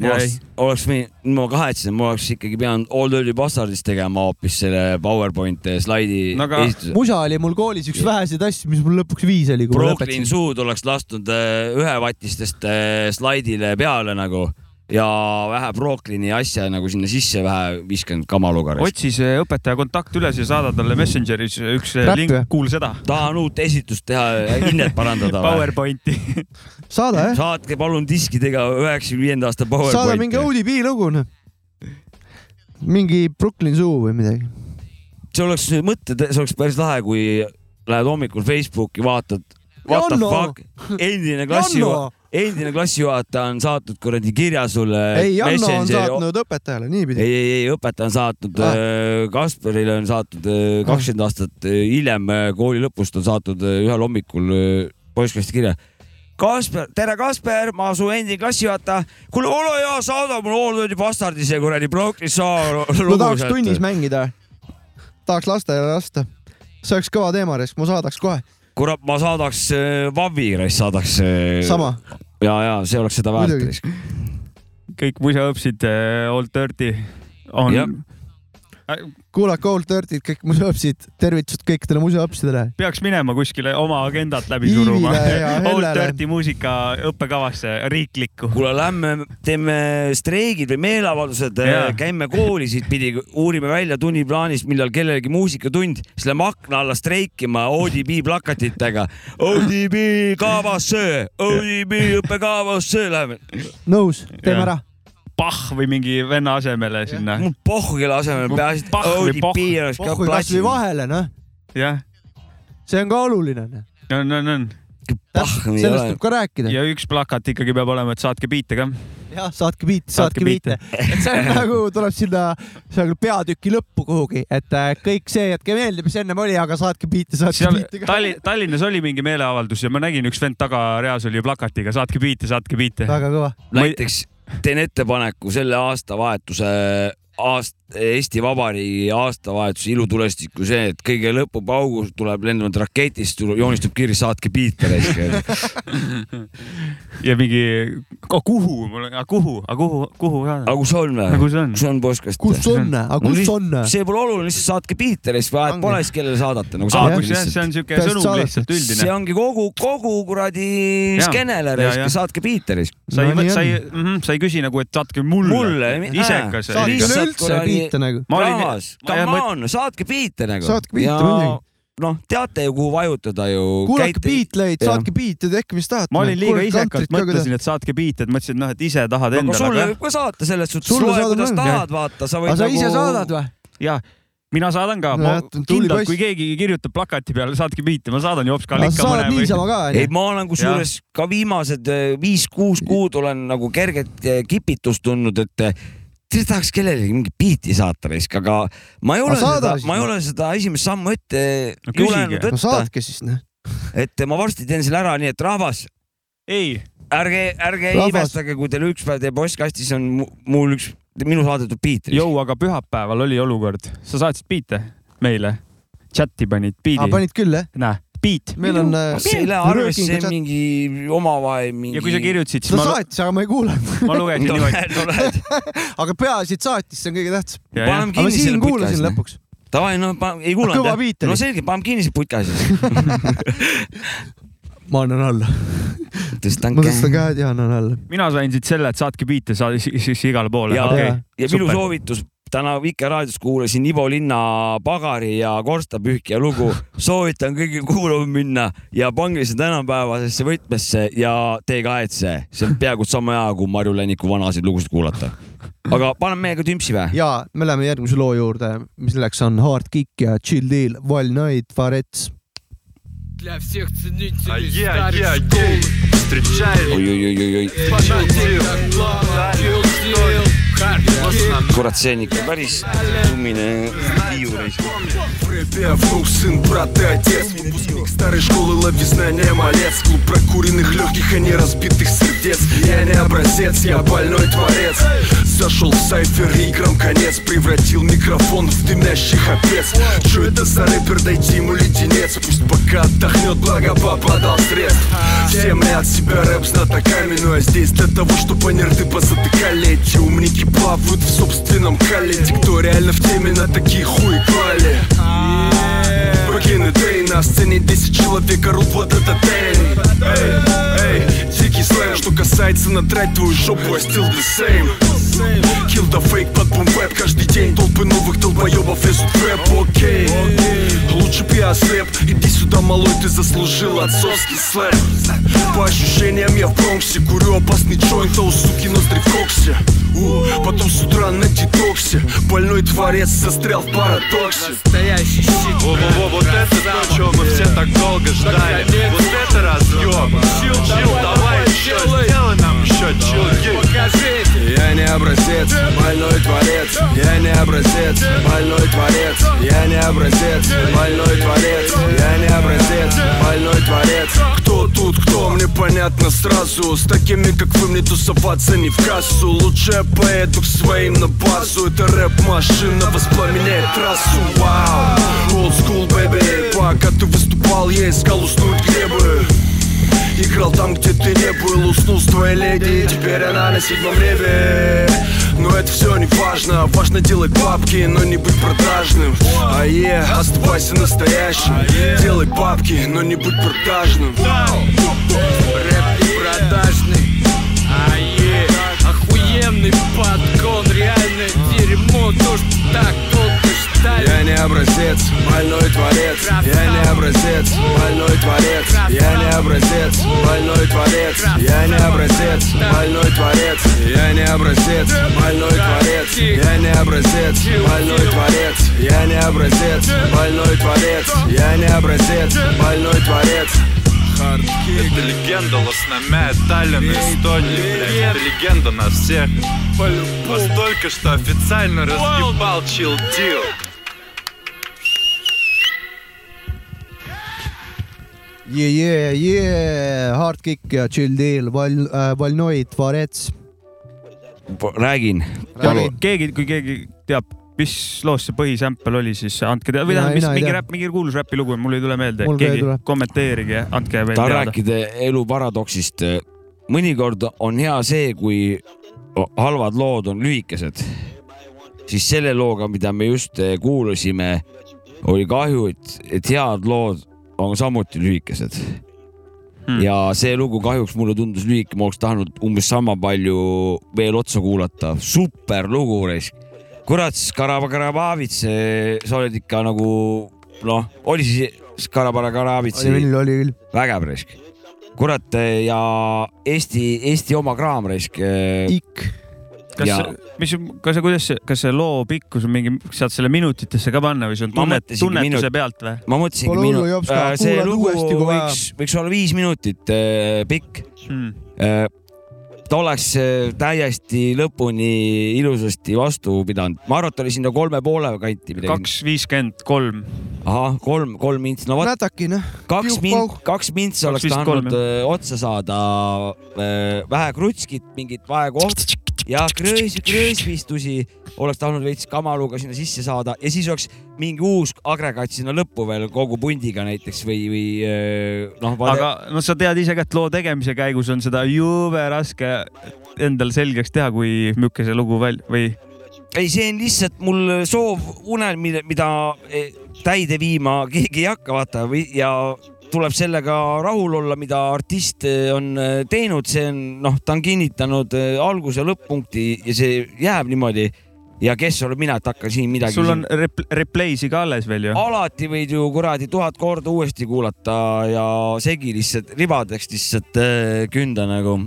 [SPEAKER 3] Ma
[SPEAKER 4] Jäi.
[SPEAKER 3] oleks , oleks võinud , ma kahetsen , ma oleks ikkagi pidanud All Dirty Bastardis tegema hoopis selle PowerPoint äh, slaidi no
[SPEAKER 4] No aga-
[SPEAKER 3] esituse .
[SPEAKER 2] musa oli mul koolis üks väheseid asju , mis mul lõpuks viis oli , kui ma
[SPEAKER 3] Brooklyn
[SPEAKER 2] lõpetasin .
[SPEAKER 3] Suud oleks lastud äh, ühevatistest äh, slaidile peale nagu ja vähe Brooklyni asja nagu sinna sisse vähe viskanud kamalugarist .
[SPEAKER 4] otsi see õpetaja kontakt üles ja saada talle Messengeris üks
[SPEAKER 2] Räpp
[SPEAKER 4] link
[SPEAKER 2] või? ,
[SPEAKER 4] kuul seda .
[SPEAKER 3] tahan uut esitust teha , Äh, hinnet parandada või ?
[SPEAKER 4] PowerPointi .
[SPEAKER 2] saada jah ,
[SPEAKER 3] saatke palun diskidega üheksakümne viienda aasta
[SPEAKER 2] saada mingi
[SPEAKER 3] PowerPointi .
[SPEAKER 2] ODB lugu , noh . mingi Brooklyn Zoo või midagi .
[SPEAKER 3] see oleks mõte , see oleks päris lahe , kui lähed hommikul Facebooki , vaatad , what the
[SPEAKER 2] Janno!
[SPEAKER 3] fuck , endine klassi
[SPEAKER 2] Janno! ,
[SPEAKER 3] endine klassijuhataja on saatnud kuradi kirja sulle .
[SPEAKER 2] ei , Janno on saatnud õpetajale niipidi .
[SPEAKER 3] Äh, ei , ei , ei õpetaja on saatnud
[SPEAKER 2] Ah.
[SPEAKER 3] ah. , Kasparile on saatnud kakskümmend aastat äh, hiljem äh, kooli lõpust on saatnud äh, ühel hommikul äh, poissklassi kirja . Kasper , tere Kasper , ma su endine klassijuhataja . kuule , ole hea , saada mulle All Dirty Bastardis ja kuradi Brooklyn Saar
[SPEAKER 2] ma tahaks tunnis mängida . tahaks lastele lasta . see oleks kõva teema , Resk , ma saadaks kohe .
[SPEAKER 3] kurat , ma saadaks äh, Vavi , saadaks äh,
[SPEAKER 2] sama .
[SPEAKER 3] ja , ja see oleks seda
[SPEAKER 2] Muidugi.
[SPEAKER 3] väärt .
[SPEAKER 4] kõik musaõpsid , Old Dirty on
[SPEAKER 3] Jah.
[SPEAKER 2] kuulake Old Dirtyt , kõik museaõpsid , tervitused kõikidele museaõpsidele .
[SPEAKER 4] peaks minema kuskile oma agendat läbi suruma
[SPEAKER 2] Iivile ja .
[SPEAKER 4] Old
[SPEAKER 2] Hellele.
[SPEAKER 4] Dirty muusika õppekavasse , riiklikku .
[SPEAKER 3] kuule , lähme teeme streigid või meeleavaldused äh,
[SPEAKER 4] Jaa. ,
[SPEAKER 3] käime koolisid pidi , uurime välja tunniplaanis , millal kellelgi muusikatund , siis lähme akna alla streikima ODB plakatitega . ODB kavasse , ODB õppekavasse , lähme .
[SPEAKER 2] nõus , teeme
[SPEAKER 4] Jah.
[SPEAKER 2] ära .
[SPEAKER 4] Pahh või mingi venna asemele sinna .
[SPEAKER 3] mul pohhu kelle asemel peaasi , et
[SPEAKER 4] Pahh või
[SPEAKER 3] ODB
[SPEAKER 4] pohh?
[SPEAKER 3] oleks ka
[SPEAKER 2] pohhu kasvõi
[SPEAKER 3] platsil .
[SPEAKER 2] vahele , noh .
[SPEAKER 4] jah ,
[SPEAKER 2] see on ka oluline . noh.
[SPEAKER 4] on , on , on .
[SPEAKER 3] pahh , nii ei
[SPEAKER 2] sellest
[SPEAKER 3] ole
[SPEAKER 2] tuleb . ka rääkida .
[SPEAKER 4] ja üks plakat ikkagi peab olema , et saatke biite ka .
[SPEAKER 2] jah , saatke biite , saatke
[SPEAKER 4] Saatke biite.
[SPEAKER 2] biite . et see on nagu , tuleb sinna , see on küll peatüki lõppu kuhugi , et äh, kõik see jätke meelde , mis ennem oli , aga saatke biite , saatke
[SPEAKER 4] seal
[SPEAKER 2] biite ka .
[SPEAKER 4] Tallinn , Tallinnas oli mingi meeleavaldus ja ma nägin , üks vend tagareas oli plakatiga saatke biite , saatke biite .
[SPEAKER 2] väga kõva .
[SPEAKER 4] Ma ei-
[SPEAKER 3] näiteks teen ettepaneku selle aastavahetuse aast, , Eesti Vabariigi aastavahetuse ilutulestiku see , et kõige lõpupaugus tuleb lendavad raketist , joonistub kirja , saatke biite raisk .
[SPEAKER 4] ja mingi , kuhu , mul on , kuhu , kuhu , kuhu ka .
[SPEAKER 3] aga kus on
[SPEAKER 4] aga
[SPEAKER 3] või ?
[SPEAKER 4] kus on ?
[SPEAKER 3] kus on postkast ?
[SPEAKER 2] kus on , aga kus on ?
[SPEAKER 3] see pole oluline , lihtsalt saatke biite raisk , vahet
[SPEAKER 2] Ongi.
[SPEAKER 3] pole siis kellele saadate , nagu
[SPEAKER 2] Aa,
[SPEAKER 3] saatke
[SPEAKER 2] kus
[SPEAKER 4] jah , see
[SPEAKER 3] lihtsalt .
[SPEAKER 4] on siuke
[SPEAKER 2] Täiesti
[SPEAKER 4] sõnum
[SPEAKER 2] saadetud.
[SPEAKER 4] lihtsalt
[SPEAKER 3] see
[SPEAKER 4] üldine .
[SPEAKER 3] ongi kogu , kogu kuradi
[SPEAKER 4] Jaa.
[SPEAKER 3] skeenele
[SPEAKER 4] Jaa,
[SPEAKER 3] raisk
[SPEAKER 4] jaa. ,
[SPEAKER 3] saatke biite raisk .
[SPEAKER 4] sa ei
[SPEAKER 2] No , nii
[SPEAKER 4] sa ei
[SPEAKER 2] on. ,
[SPEAKER 4] sa ei küsi nagu , et saatke mulle .
[SPEAKER 3] mulle .
[SPEAKER 4] isekas .
[SPEAKER 2] saatke
[SPEAKER 3] Lihtsalt
[SPEAKER 2] üleüldse
[SPEAKER 3] kuradi-
[SPEAKER 2] biite nagu .
[SPEAKER 4] ma olin ,
[SPEAKER 3] rahas ,
[SPEAKER 4] ma-
[SPEAKER 3] come
[SPEAKER 4] ma-
[SPEAKER 3] on , saatke biite nagu .
[SPEAKER 2] Saatke biite, muidugi. .
[SPEAKER 3] noh , teate ju , kuhu vajutada ju .
[SPEAKER 2] kuulake biitleid ,
[SPEAKER 3] Jah.
[SPEAKER 2] saatke nagu. biite , tehke , mis tahate .
[SPEAKER 4] ma olin liiga isekas , mõtlesin , et saatke biite , et mõtlesin , et noh , et ise tahad
[SPEAKER 3] aga
[SPEAKER 4] endale
[SPEAKER 3] sulle . võib ka saata selles suhtes ,
[SPEAKER 2] Sulle
[SPEAKER 3] loe
[SPEAKER 2] saadab
[SPEAKER 3] kuidas
[SPEAKER 2] küll,
[SPEAKER 3] tahad , vaata , sa võid nagu-
[SPEAKER 2] aga sa ise saadad ? või ?
[SPEAKER 4] jah , mina saadan ka
[SPEAKER 2] No
[SPEAKER 4] no,
[SPEAKER 2] jah, . tubli
[SPEAKER 4] kindlalt ,
[SPEAKER 2] poiss.
[SPEAKER 4] kui keegi kirjutab plakati peale , saatke biite , ma saadan jops ka
[SPEAKER 2] sa
[SPEAKER 4] ikka
[SPEAKER 2] saad
[SPEAKER 4] mõne või .
[SPEAKER 2] niisama ka ,
[SPEAKER 3] ei ,
[SPEAKER 2] onju .
[SPEAKER 3] ma olen kusjuures ka viimased eh, viis-kuus kuud olen nagu kerget eh, kipitust tundnud , et eh, tead, tahaks kellelegi mingit biiti saata raisk , aga ma ei ole
[SPEAKER 2] Aga saada
[SPEAKER 3] seda ,
[SPEAKER 2] siis,
[SPEAKER 3] ma ei
[SPEAKER 2] noh.
[SPEAKER 3] ole seda esimest sammu ette
[SPEAKER 4] No
[SPEAKER 3] julenud
[SPEAKER 4] küsige.
[SPEAKER 2] no
[SPEAKER 3] võtta ,
[SPEAKER 2] saatke siis , noh .
[SPEAKER 3] et ma varsti teen selle ära , nii et rahvas ,
[SPEAKER 4] ei ,
[SPEAKER 3] ärge , ärge
[SPEAKER 2] Rahvas.
[SPEAKER 3] imestage , kui teil üks päev teie postkastis on mu- mul üks , minu saadetud biit .
[SPEAKER 4] jõu , aga pühapäeval oli olukord , sa saatsid biite meile , chati panid
[SPEAKER 2] aa ,
[SPEAKER 4] Äh, biidi ,
[SPEAKER 2] Ah, panid küll , jah ?
[SPEAKER 4] näe , biit .
[SPEAKER 2] meil on . äh,
[SPEAKER 3] see ei lähe arvesse mingi omavahel mingi .
[SPEAKER 4] ja kui sa kirjutasid ,
[SPEAKER 2] ta
[SPEAKER 4] siis ma ,
[SPEAKER 2] saatis , aga ma ei kuulanud .
[SPEAKER 4] ma lugesin
[SPEAKER 3] no,
[SPEAKER 4] niimoodi .
[SPEAKER 3] no lähed ,
[SPEAKER 2] aga peaasi , et saatis , see on kõige tähtsam .
[SPEAKER 3] paneme
[SPEAKER 2] aga ma
[SPEAKER 3] kinni
[SPEAKER 2] siin
[SPEAKER 3] selle putka
[SPEAKER 2] kuulasin
[SPEAKER 3] siis .
[SPEAKER 2] lõpuks .
[SPEAKER 3] davai , no pa- ei kuulanud
[SPEAKER 2] Kõva biit oli.
[SPEAKER 3] no selge , paneme kinni selle putka siis .
[SPEAKER 2] ma annan alla .
[SPEAKER 3] tõstan
[SPEAKER 2] ma tõstan
[SPEAKER 3] käe .
[SPEAKER 2] käed ja annan alla .
[SPEAKER 4] mina sain siit selle , et saatke biite , sa siis siis igale poole .
[SPEAKER 3] ja
[SPEAKER 4] okei ,
[SPEAKER 3] ja minu
[SPEAKER 4] super.
[SPEAKER 3] soovitus täna Vikerraadios kuulasin Ivo Linna Pagari ja Korstapühkija lugu , soovitan kõigil kuulama minna ja pange see tänapäevasesse võtmesse ja te ei kahetse , see on peaaegu sama hea kui Marju Länniku vanasid lugusid kuulata . aga paneme meiega tümpsi või ?
[SPEAKER 2] ja me läheme järgmise loo juurde , mis selleks on Hard Kick ja Chill Deal , Wild Night , Farets .
[SPEAKER 12] Для всех ценителей
[SPEAKER 13] А я, я гей, встречает
[SPEAKER 3] oi-oi-oi-oi ,
[SPEAKER 13] фанатик Юрдил,
[SPEAKER 3] kurat , see on ikka päris tummine viiureis .
[SPEAKER 13] Припев, внук, сын, брат и отец Выпускник старой школы, лови знания, малец Клуб прокуренных легких, а не разбитых сердец Я не образец, я больной творец Зашел в сайфер играм конец Превратил микрофон в дымящий хапец Че это за рэпер, дайте ему леденец Пусть пока отдохнет, благо папа дал средств Всем ли от себя рэп знатоками Ну а здесь для того, чтобы нерды позатыкали Эти умники плавают в собственном кале Те, кто реально в теме, на такие хуй клали Back in the day, на сцене 10 человек орут вот это день Эй, эй, дикий слэм Что касается надрать твою жопу, I still the same Kill the fake под бумбэп каждый день Толпы новых долбоебов лезут в рэп, окей Лучше б я ослеп, иди сюда, малой, ты заслужил отцовский слэм По ощущениям я в Бронксе, курю опасный джойнт, а у суки ноздри в коксе У, Потом с утра на детоксе, больной творец застрял в парадоксе
[SPEAKER 12] настоящий щит.
[SPEAKER 13] во-во-во, вот это то, чего мы все так долго ждали Вот это разъем Чил, чил, давай еще Сделай нам еще чил, Я не образец, больной творец Я не образец, больной творец Я не образец, больной творец Я не образец, больной творец Кто тут, кто, мне понятно сразу С такими, как вы, мне тусоваться не в кассу Лучше я поеду к своим на базу Это рэп-машина воспламеняет трассу Вау, old school, baby Пока ты выступал, я искал уснуть гребы Играл там, где ты не был, уснул с твоей леди Теперь она на седьмом небе Но это все не важно Важно делать бабки, но не быть продажным Ае, оставайся настоящим Делай бабки, но не будь продажным
[SPEAKER 12] Рэп не продажный. А е, охуенный подгон, реально дерьмо, то что так долго ждали.
[SPEAKER 13] Я не образец, больной творец Я не образец, больной творец Я не образец, больной творец Я не образец, больной творец Я не образец, больной творец Я не образец, больной творец Я не образец, больной творец Я не образец, больной творец
[SPEAKER 14] Это легенда лосномя, Таллин, Эстония, блядь. Это легенда нас всех. Настолько, что официально разъебал чилдил.
[SPEAKER 2] yeah, yeah, yeah. Hardkick ja chill deal , Val- , Valnoid , Varets .
[SPEAKER 3] räägin .
[SPEAKER 4] keegi , kui keegi teab , mis loos see põhisämpel oli , siis andke teada või
[SPEAKER 3] Mina-
[SPEAKER 4] tähendab , mis
[SPEAKER 3] mina ei
[SPEAKER 4] mingi
[SPEAKER 3] tea.
[SPEAKER 4] räpp , mingi kuulus räpilugu , mul ei tule meelde
[SPEAKER 3] Mul , ka ei
[SPEAKER 4] keegi
[SPEAKER 3] tule.
[SPEAKER 4] kommenteerige , andke veel
[SPEAKER 3] tahan
[SPEAKER 4] teada .
[SPEAKER 3] rääkida elu paradoksist . mõnikord on hea see , kui halvad lood on lühikesed , siis selle looga , mida me just eh, kuulasime , oli kahju , et , et head lood on samuti lühikesed hmm. . ja see lugu kahjuks mulle tundus lühike , ma oleks tahtnud umbes sama palju veel otsa kuulata , super lugu , kurat , Skarabakarabavits , sa oled ikka nagu noh , oli siis Skarabakarabavits ?
[SPEAKER 2] oli küll , oli küll .
[SPEAKER 3] vägev risk . kurat ja Eesti , Eesti oma kraam risk .
[SPEAKER 2] ikk .
[SPEAKER 4] kas
[SPEAKER 3] ja- ,
[SPEAKER 4] mis , kas see , kuidas see , kas see loo pikkus on mingi , saad selle minutitesse ka panna või see on
[SPEAKER 3] Ma
[SPEAKER 4] tunnet,
[SPEAKER 3] mõtlesingi
[SPEAKER 4] tunnetuse
[SPEAKER 3] minut-
[SPEAKER 4] pealt või ?
[SPEAKER 3] ma mõtlesingi , minu , Äh, see lugu võiks , võiks olla viis minutit äh, pikk
[SPEAKER 4] Hmm.
[SPEAKER 3] Äh, ta oleks äh, täiesti lõpuni ilusasti vastu pidanud , ma arvan , et ta oli sinna kolme poole kanti .
[SPEAKER 4] kaks viiskümmend kolm .
[SPEAKER 3] ahah , kolm , kolm mints , no vot ,
[SPEAKER 2] natukene .
[SPEAKER 3] kaks mint , kaks mintsi oleks
[SPEAKER 4] Kaks viiskümmend
[SPEAKER 3] tahtnud äh, otsa saada äh, vähe krutskit , mingit vahekohti ja krõõsi , krõõsvistusi oleks tahtnud veits kamaluga sinna sisse saada ja siis oleks mingi uus agregaat sinna lõppu veel kogu pundiga näiteks või , või äh, noh .
[SPEAKER 4] aga no sa tead ise ka , et loo tegemise käigus on seda jube raske endal selgeks teha , kui niisugune see lugu välja või
[SPEAKER 3] ei , see on lihtsalt mul soov unelm , mida eh, täide viima keegi ei hakka , vaata , või ja tuleb sellega rahul olla , mida artist eh, on eh, teinud , see on noh , ta on kinnitanud eh, alguse lõpp-punkti ja see jääb niimoodi . ja kes olen mina , et hakkan siin midagi .
[SPEAKER 4] sul on rep- , replay'si ka alles veel ju .
[SPEAKER 3] alati võid ju kuradi tuhat korda uuesti kuulata ja segi lihtsalt ribadeks lihtsalt eh, künda nagu .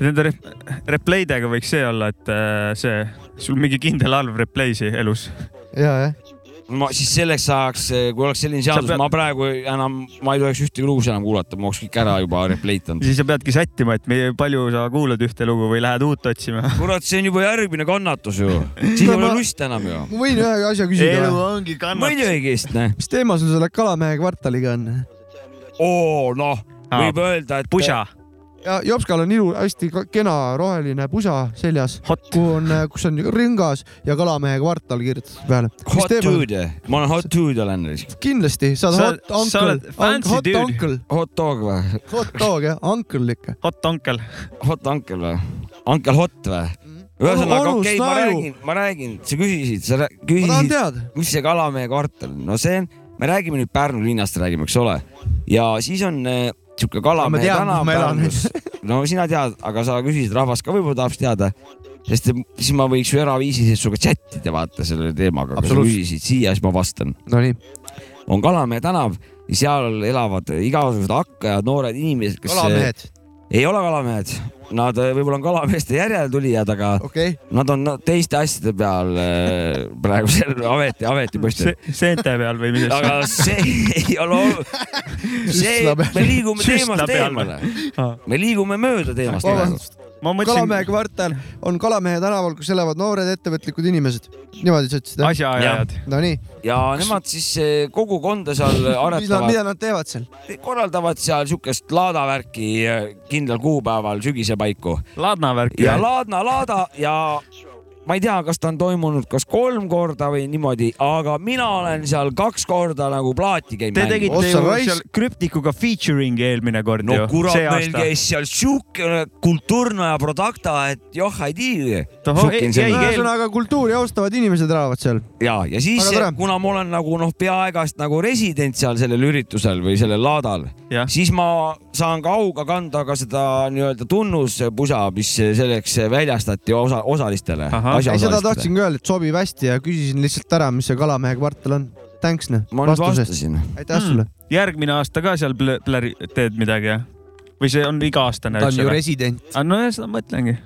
[SPEAKER 4] Nende rep- , replay dega võiks see olla , et äh, see , sul mingi kindel arv replay'si elus .
[SPEAKER 2] ja , jah .
[SPEAKER 3] ma siis selleks ajaks , kui oleks selline
[SPEAKER 4] Sa
[SPEAKER 3] seadus
[SPEAKER 4] pead-
[SPEAKER 3] pead... , ma praegu enam , ma ei tohiks ühtegi lugu enam kuulata , ma oleks kõik ära juba repleitanud .
[SPEAKER 4] siis sa peadki sättima , et meie , palju sa kuulad ühte lugu või lähed uut otsima .
[SPEAKER 3] kurat , see on juba järgmine kannatus ju . siin
[SPEAKER 2] No
[SPEAKER 3] ei ole
[SPEAKER 2] ma-
[SPEAKER 3] lust enam ju .
[SPEAKER 2] ma võin ühe asja küsida
[SPEAKER 4] Elu
[SPEAKER 2] või?
[SPEAKER 4] ongi
[SPEAKER 3] muidugi , sest noh ,
[SPEAKER 2] mis teema sul selle Kalamehe kvartaliga on ?
[SPEAKER 3] oo noh ,
[SPEAKER 4] Aa,
[SPEAKER 3] võib öelda , et .
[SPEAKER 4] pusa .
[SPEAKER 2] ja Jopskal on ilu , hästi ka- kena roheline pusa seljas , kuhu on , kus on rõngas ja Kalamehe kvartal kirjutatud peale .
[SPEAKER 3] Hot dude , ma olen hot dude olen .
[SPEAKER 2] kindlasti , sa
[SPEAKER 4] Sa-
[SPEAKER 2] oled hot
[SPEAKER 4] sa oled
[SPEAKER 2] uncle ,
[SPEAKER 4] fancy
[SPEAKER 2] hot
[SPEAKER 4] dude.
[SPEAKER 2] uncle ,
[SPEAKER 3] Hot dog või ?
[SPEAKER 2] hot dog jah , uncle ikka .
[SPEAKER 4] Hot onkel .
[SPEAKER 3] Hot uncle või ? Uncle hot või ? ühesõnaga ,
[SPEAKER 2] Mhm. Onu
[SPEAKER 3] okei , ma
[SPEAKER 2] Snaju.
[SPEAKER 3] räägin , ma räägin , sa küsisid , sa rää-
[SPEAKER 2] ma tahan
[SPEAKER 3] küsisid ,
[SPEAKER 2] teada ,
[SPEAKER 3] mis see Kalamehe kvartal on , no see on , me räägime nüüd Pärnu linnast räägime , eks ole , ja siis on äh, sihuke Kalamehe
[SPEAKER 2] Ma tean,
[SPEAKER 3] tänav
[SPEAKER 2] kus ma elan.
[SPEAKER 3] Pärnus . no sina tead , aga sa küsisid , rahvas ka võib-olla tahab teada , sest siis ma võiks ju eraviisiliselt sinuga chattida , vaata selle teemaga , kui sa
[SPEAKER 2] Absoluutselt.
[SPEAKER 3] küsisid siia , siis ma vastan .
[SPEAKER 2] Nonii. .
[SPEAKER 3] on Kalamehe tänav ja seal elavad igasugused hakkajad , noored inimesed , kes .
[SPEAKER 2] Kalamehed. .
[SPEAKER 3] ei ole kalamehed , nad äh, võib-olla on kalameeste järeltulijad , aga
[SPEAKER 2] okei okay. ,
[SPEAKER 3] nad on no, teiste asjade peal äh, praegusel ameti , ametipostil .
[SPEAKER 4] seente peal või milles ?
[SPEAKER 3] aga see ei ole olu- , see ,
[SPEAKER 2] Süstla peal.
[SPEAKER 3] me liigume
[SPEAKER 4] Süstla
[SPEAKER 3] teemast
[SPEAKER 4] peal.
[SPEAKER 3] eemale , me liigume mööda teemast praegu .
[SPEAKER 2] vabandust .
[SPEAKER 4] ma mõtlesin
[SPEAKER 2] Kalamehe kvartal on Kalamehe tänaval , kus elavad noored ettevõtlikud inimesed . niimoodi sa ütlesid , jah ?
[SPEAKER 4] asjaajajad .
[SPEAKER 2] Nonii ,
[SPEAKER 3] ja nemad siis eh, kogukonda seal
[SPEAKER 2] mida ,
[SPEAKER 3] aretavad ,
[SPEAKER 2] mida nad teevad seal ?
[SPEAKER 3] korraldavad seal siukest laadavärki eh, kindlal kuupäeval sügise paiku
[SPEAKER 4] Ladna värk
[SPEAKER 3] ja . laadna laada ja ma ei tea , kas ta on toimunud kas kolm korda või niimoodi , aga mina olen seal kaks korda nagu plaati käinud .
[SPEAKER 4] Te tegite
[SPEAKER 2] Otsa
[SPEAKER 4] ju
[SPEAKER 2] raisk-
[SPEAKER 4] seal krüptikuga featuring'i eelmine kord
[SPEAKER 3] no
[SPEAKER 4] ju .
[SPEAKER 3] kurat , meil käis seal siukene kultuurne produkta , et joh , ei tea .
[SPEAKER 4] Tohoh, ei- ei- ei-
[SPEAKER 2] ühesõnaga kultuuri austavad inimesed elavad seal .
[SPEAKER 3] ja , ja siis
[SPEAKER 2] Väga tore. ,
[SPEAKER 3] kuna ma olen nagu noh , peaaegast nagu resident seal sellel üritusel või sellel laadal ,
[SPEAKER 4] Jah.
[SPEAKER 3] siis ma saan ka auga kanda ka seda nii-öelda tunnuspusa , mis selleks väljastati osa , osalistele .
[SPEAKER 4] Ahah.
[SPEAKER 2] ei , seda tahtsingi öelda , et sobib hästi ja küsisin lihtsalt ära , mis see Kalamehe kvartal on . Thanks noh ,
[SPEAKER 3] ma nüüd
[SPEAKER 2] vastuse eest .
[SPEAKER 3] vastasin .
[SPEAKER 2] aitäh
[SPEAKER 4] Hmm.
[SPEAKER 2] sulle .
[SPEAKER 4] järgmine aasta ka seal plä- pläri- teed midagi jah ? või see on iga-aastane ?
[SPEAKER 2] resident .
[SPEAKER 4] Ah, no ja seda ma mõtlengi .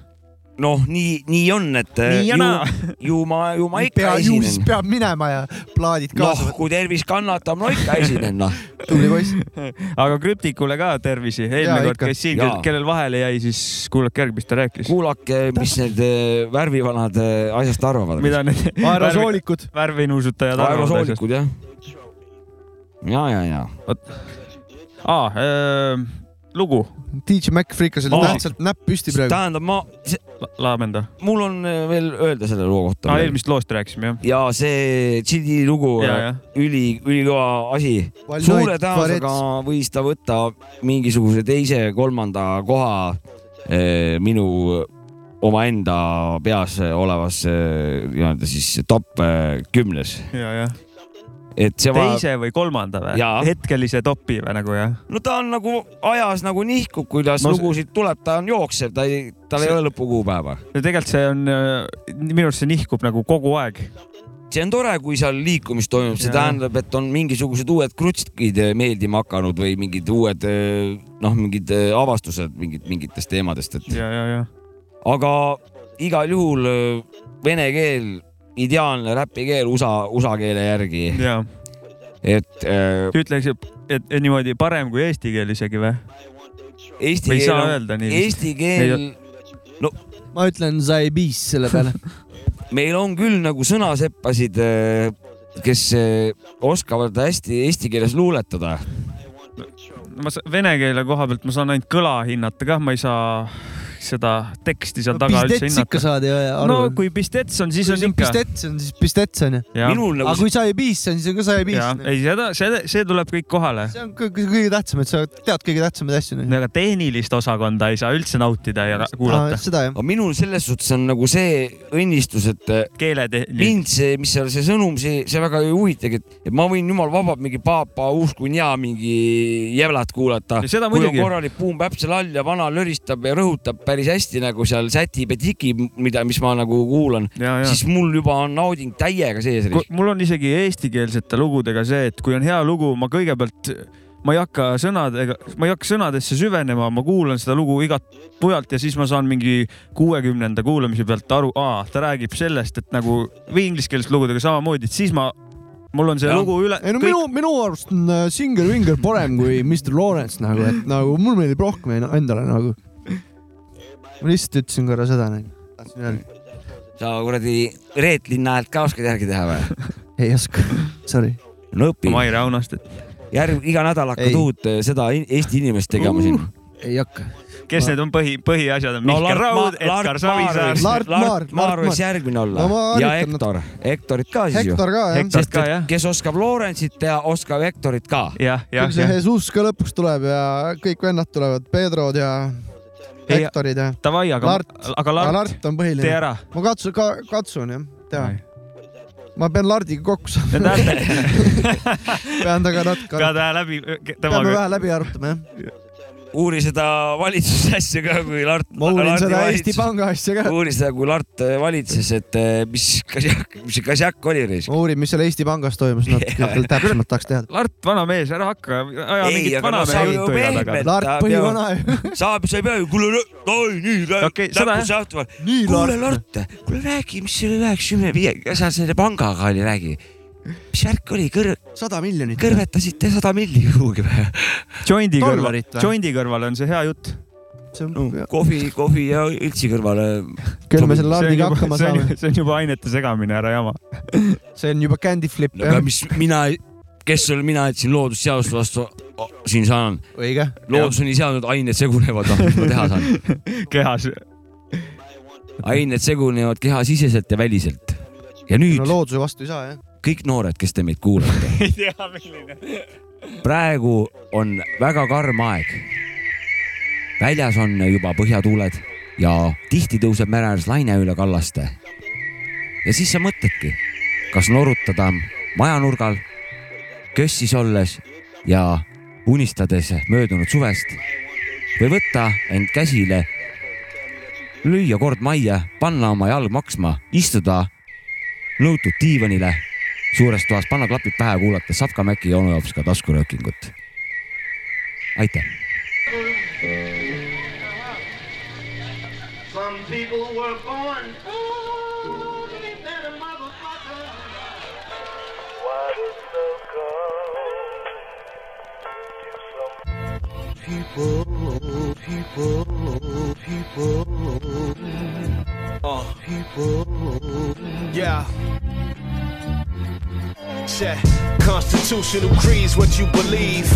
[SPEAKER 3] noh , nii , nii on , et äh,
[SPEAKER 2] Nii ja
[SPEAKER 3] ju,
[SPEAKER 2] naa.
[SPEAKER 3] ju ma , ju ma ikka
[SPEAKER 2] ju siis
[SPEAKER 3] esinen .
[SPEAKER 2] peab minema ja plaadid kaasa
[SPEAKER 3] noh ,
[SPEAKER 2] võtma .
[SPEAKER 3] kui tervis kannatab , no ikka esinen , noh .
[SPEAKER 2] tubli poiss .
[SPEAKER 4] aga krüptikule ka tervisi , eelmine
[SPEAKER 3] Jaa,
[SPEAKER 4] kord
[SPEAKER 3] ikka.
[SPEAKER 4] käis siin
[SPEAKER 3] Jaa. ,
[SPEAKER 4] kellel vahele jäi , siis kuulake järgi , mis ta rääkis .
[SPEAKER 3] kuulake , mis need eh, värvivanad eh, asjast arvavad .
[SPEAKER 4] mida need
[SPEAKER 2] Aerosoolikud.
[SPEAKER 4] värvinuusutajad
[SPEAKER 3] aerosoolikud jah . ja , ja , ja .
[SPEAKER 4] aa , Ah, ähm, lugu . Ah.
[SPEAKER 2] DJ Mac frikas oli
[SPEAKER 4] Aa.
[SPEAKER 2] tähtsalt näpp püsti praegu .
[SPEAKER 3] tähendab , ma ,
[SPEAKER 4] laamenda .
[SPEAKER 3] mul on eh, veel öelda selle loo kohta
[SPEAKER 4] aa ,. eelmisest loost rääkisime , jah .
[SPEAKER 3] ja see Chidi lugu eh,
[SPEAKER 4] Ja, ja. ,
[SPEAKER 3] üli , ülikõva asi .
[SPEAKER 2] Valnoid
[SPEAKER 3] suure tõenäosusega
[SPEAKER 2] kvarets.
[SPEAKER 3] võis ta võtta mingisuguse teise-kolmanda koha eh, minu omaenda peas olevas eh, nii-öelda siis top eh, kümnes .
[SPEAKER 4] ja , jah .
[SPEAKER 3] et see va-
[SPEAKER 4] teise või kolmanda või
[SPEAKER 3] Jaa. ?
[SPEAKER 4] hetkelise topi või nagu jah ?
[SPEAKER 3] no ta on nagu ajas nagu nihkub , kuidas
[SPEAKER 4] No
[SPEAKER 3] no,
[SPEAKER 4] see-
[SPEAKER 3] lugusid tuleb , ta on jooksev , ta ei , tal ei
[SPEAKER 4] See-
[SPEAKER 3] ole lõpukuupäeva .
[SPEAKER 4] no tegelikult see on , minu arust see nihkub nagu kogu aeg .
[SPEAKER 3] see on tore , kui seal liikumist toimub , see
[SPEAKER 4] Jaa.
[SPEAKER 3] tähendab , et on mingisugused uued krutskid eh, meeldima hakanud või mingid uued eh, noh , mingid eh, avastused mingit , mingitest teemadest , et
[SPEAKER 4] ja , ja , ja .
[SPEAKER 3] aga igal juhul eh, vene keel , ideaalne räpikeel USA , USA keele järgi ,
[SPEAKER 4] ja ,
[SPEAKER 3] et eh,
[SPEAKER 4] ütleks , et, et niimoodi parem kui eesti keel isegi või ?
[SPEAKER 3] eesti
[SPEAKER 4] Või
[SPEAKER 3] keel
[SPEAKER 4] ei saa
[SPEAKER 3] on
[SPEAKER 4] öelda nii vist. ,
[SPEAKER 3] eesti keel
[SPEAKER 4] Ei-
[SPEAKER 3] no
[SPEAKER 2] ma ütlen Zaibiis selle peale .
[SPEAKER 3] meil on küll nagu sõnaseppasid , kes eh, oskavad hästi eesti keeles luuletada .
[SPEAKER 4] ma sa- vene keele koha pealt ma saan ainult kõla hinnata kah , ma ei saa seda teksti seal taga üldse
[SPEAKER 2] pistets ikka
[SPEAKER 4] hinnata .
[SPEAKER 2] saad ju äh, aru .
[SPEAKER 4] no kui pistets on , siis on ikka .
[SPEAKER 2] pistets on , siis pistets on ju .
[SPEAKER 3] minul
[SPEAKER 2] aga
[SPEAKER 3] nagu
[SPEAKER 2] kui Zaibiis on , siis on ka Zaibiis .
[SPEAKER 4] ei seda , see , see tuleb kõik kohale .
[SPEAKER 2] see on kõige, kõige tähtsam , et sa tead kõige tähtsamaid asju .
[SPEAKER 4] aga tehnilist osakonda ei saa üldse nautida ja ra- kuulata .
[SPEAKER 2] seda jah .
[SPEAKER 3] aga minul selles suhtes on nagu see õnnistus , et eh,
[SPEAKER 4] keeletehniline .
[SPEAKER 3] mind see , mis seal see sõnum , see , see väga ei huvitagi , et , et ma võin jumal vabalt mingi paapa uskunja mingi jävlat kuulata .
[SPEAKER 4] Ja seda
[SPEAKER 3] kui on
[SPEAKER 4] muidugi.
[SPEAKER 3] korralik buum-päpp seal all ja vana löristab ja rõhutab päris hästi nagu seal sätib ja tikib , mida , mis ma nagu kuulan ,
[SPEAKER 4] ja , ja .
[SPEAKER 3] siis mul juba on nauding täiega sees .
[SPEAKER 4] Ku- mul on isegi eestikeelsete lugudega see , et kui on hea lugu , ma kõigepealt , ma ei hakka sõnadega , ma ei hakka sõnadesse süvenema , ma kuulan seda lugu igat pujalt ja siis ma saan mingi kuuekümnenda kuulamise pealt aru , aa , ta räägib sellest , et nagu või ingliskeelsete lugudega samamoodi , et siis ma , mul on see
[SPEAKER 3] Jah.
[SPEAKER 4] lugu üle ,
[SPEAKER 2] ei no
[SPEAKER 4] kõik ,
[SPEAKER 2] minu , minu arust on äh, Singer Winger parem kui Mr Lawrence nagu , et nagu mul meeldib rohkem en- endale nagu . ma lihtsalt ütlesin korra seda nagu . tahtsin öelda ,
[SPEAKER 3] sa kuradi Reet Linna häält ka oskad järgi teha või ?
[SPEAKER 2] ei oska , sorry .
[SPEAKER 3] no õpi ,
[SPEAKER 4] Mai Raunastet ,
[SPEAKER 3] järg , iga nädal hakkad
[SPEAKER 2] Ei. Uh.
[SPEAKER 3] uut eh, seda in- Eesti inimest tegema siin .
[SPEAKER 2] ei hakka .
[SPEAKER 4] kes need on põhi , põhiasjad on Mihkel Raud , Edgar Savisaar ,
[SPEAKER 2] Lart Maar,
[SPEAKER 3] Lart Maar
[SPEAKER 2] Lart
[SPEAKER 3] võiks
[SPEAKER 2] Maar.
[SPEAKER 3] järgmine olla
[SPEAKER 2] No ma
[SPEAKER 3] ja
[SPEAKER 2] harjutan
[SPEAKER 3] Hektor , Hektorit ka siis ju .
[SPEAKER 2] Hektor ka jah .
[SPEAKER 4] Hektor
[SPEAKER 3] sest
[SPEAKER 4] ka
[SPEAKER 3] et
[SPEAKER 4] jah ,
[SPEAKER 3] kes oskab Lorentsit teha , oskab Hektorit ka .
[SPEAKER 4] jah ,
[SPEAKER 2] küll
[SPEAKER 4] jah ,
[SPEAKER 2] see
[SPEAKER 4] jah .
[SPEAKER 2] Jesus ka lõpuks tuleb ja kõik vennad tulevad , Pedrod ja
[SPEAKER 4] Ei,
[SPEAKER 2] Hektorid ja .
[SPEAKER 4] Davai , aga
[SPEAKER 2] Lart. ,
[SPEAKER 4] aga
[SPEAKER 2] aga
[SPEAKER 4] Lart ,
[SPEAKER 2] Lart on
[SPEAKER 4] tee
[SPEAKER 2] põhiline .
[SPEAKER 4] ära .
[SPEAKER 2] ma katsun ka, , katsun jah , teha . ma pean Lardiga kokku saama ,
[SPEAKER 4] Te näete ,
[SPEAKER 2] pean temaga natuke ,
[SPEAKER 4] ka ta läbi ,
[SPEAKER 2] peame
[SPEAKER 4] temaga
[SPEAKER 2] vähe läbi arutama jah .
[SPEAKER 3] uuri seda valitsuse asja ka , kui Lart .
[SPEAKER 2] ma uurin seda Eesti Panga asja ka .
[SPEAKER 3] uuri seda , kui Lart eh, valitses , et eh, mis kasjak , mis see kasjak oli reis .
[SPEAKER 2] ma uurin , mis seal Eesti Pangas toimus , natuke täpsemalt tahaks teada .
[SPEAKER 4] Lart , vana mees , ära hakka , aja
[SPEAKER 3] Ei,
[SPEAKER 4] mingit
[SPEAKER 3] aga no sa
[SPEAKER 4] vanamehe
[SPEAKER 3] ju
[SPEAKER 4] juttu jaa taga
[SPEAKER 3] pehmed. .
[SPEAKER 2] Lart Põhivana ju .
[SPEAKER 3] saab , sa ei pea ju , kuule , oi nii ,
[SPEAKER 4] Okei, seda jah.
[SPEAKER 3] lõpus jahtuvad .
[SPEAKER 2] nii
[SPEAKER 3] kuule , Lart , kuule räägi , mis selle üheksakümne viie , sa selle pangaga oli , räägi . mis värk oli , kõr- ,
[SPEAKER 2] sada miljonit .
[SPEAKER 3] kõrvetasite sada milli kuhugi või ?
[SPEAKER 4] Jondi kõrval
[SPEAKER 2] Dollarit , või?
[SPEAKER 4] Jondi kõrval on see hea jutt .
[SPEAKER 3] Mm. kohvi , kohvi ja õltsi kõrvale .
[SPEAKER 2] küll me selle
[SPEAKER 4] see on
[SPEAKER 2] Lardiga
[SPEAKER 4] juba-
[SPEAKER 2] hakkama
[SPEAKER 4] see on
[SPEAKER 2] saame .
[SPEAKER 4] ju- see on juba ainete segamine , ära jama .
[SPEAKER 2] see on juba Candy Flip
[SPEAKER 3] no aga
[SPEAKER 2] jah ,
[SPEAKER 3] mis mina , kes olen mina , et siin loodusseadust vastu o- siin saan .
[SPEAKER 2] õige .
[SPEAKER 3] loodus on ise andnud , ained segunevad , mis ma teha saan .
[SPEAKER 4] kehas .
[SPEAKER 3] ained segunevad kehasiseselt ja väliselt . ja nüüd
[SPEAKER 2] no looduse vastu ei saa jah .
[SPEAKER 3] kõik noored , kes te meid kuulate ,
[SPEAKER 4] ei tea , milline .
[SPEAKER 3] praegu on väga karm aeg . väljas on juba põhjatuuled ja tihti tõuseb mere ääres laine üle kallaste . ja siis sa mõtledki , kas norutada majanurgal , kössis olles ja unistades möödunud suvest või võtta end käsile , lüüa kord majja , panna oma jalg maksma , istuda nõutud diivanile suures toas , panna klapid pähe , kuulata Sapka Mäki ja onu jaoks ka taskuröökingut . aitäh .
[SPEAKER 12] Someday
[SPEAKER 15] people were born. Ooh, they better motherfucker. What is so cold?
[SPEAKER 16] People, people, people,
[SPEAKER 17] Uh.
[SPEAKER 16] people.
[SPEAKER 17] Yeah. Check. Constitutional creeds what you believe.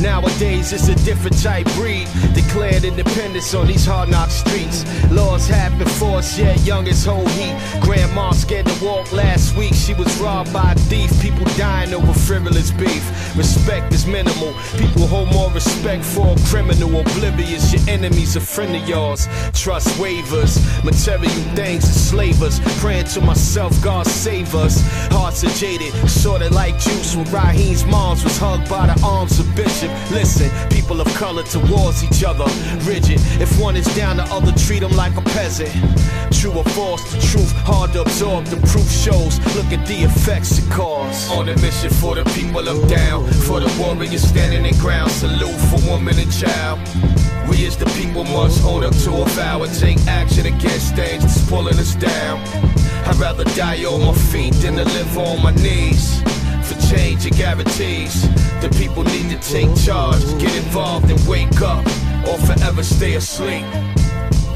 [SPEAKER 17] Nowadays it's a different type breed. Declared independence on these hard knock streets. Laws have been forced, yeah, young as whole heat. Grandma scared to walk last week. She was robbed by a thief. People dying over frivolous beef. Respect is minimal. People hold more respect for a criminal. Oblivious, your enemies a friend of yours. Trust wavers. Material things enslave us. Praying to myself, God save us. Hearts are jaded, sorted like juice. When Raheem's moms was hugged by the arms of Bishop. Listen, people of color towards each other, rigid. If one is down, the other treat them like a peasant. True or false, the truth hard to absorb. The proof shows. Look at the effects it caused. On a mission for the people of down, for the warriors standing in ground. Salute for woman and child. We as the people must own up to a vow and take action against things that's pulling us down. I'd rather die on my feet than to live on my knees. For change and guarantees, the people need to take charge, get involved and wake up, or forever stay asleep.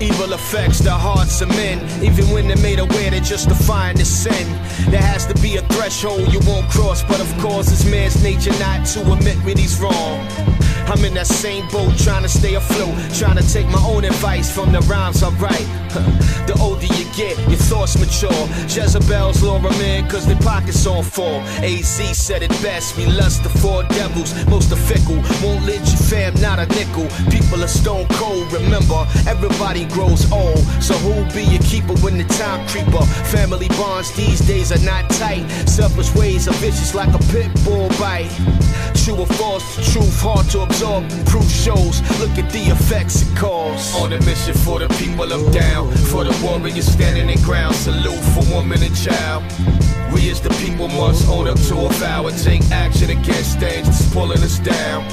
[SPEAKER 17] Evil affects the hearts of men, even when they're made aware they're justifying the sin. There has to be a threshold you won't cross, but of course it's man's nature not to admit when he's wrong. I'm in that same boat trying to stay afloat, trying to take my own advice from the rhymes I write. the older you get, your thoughts mature. Jezebel's Laura man, cause their pockets on full. AZ said it best, we lust the four devils, most are fickle. Won't let your fam, not a nickel. People are stone cold, remember, everybody grows old. So who'll be your keeper when the time creeper? Family bonds these days are not tight. Selfish ways are vicious like a pit bull bite. True or false, the truth hard to absorb. Proof shows, look at the effects it caused. On a mission for the people of down, for the warriors standing in ground. Salute for woman and child. We as the people must own up to a vow and take action against things that's pulling us down.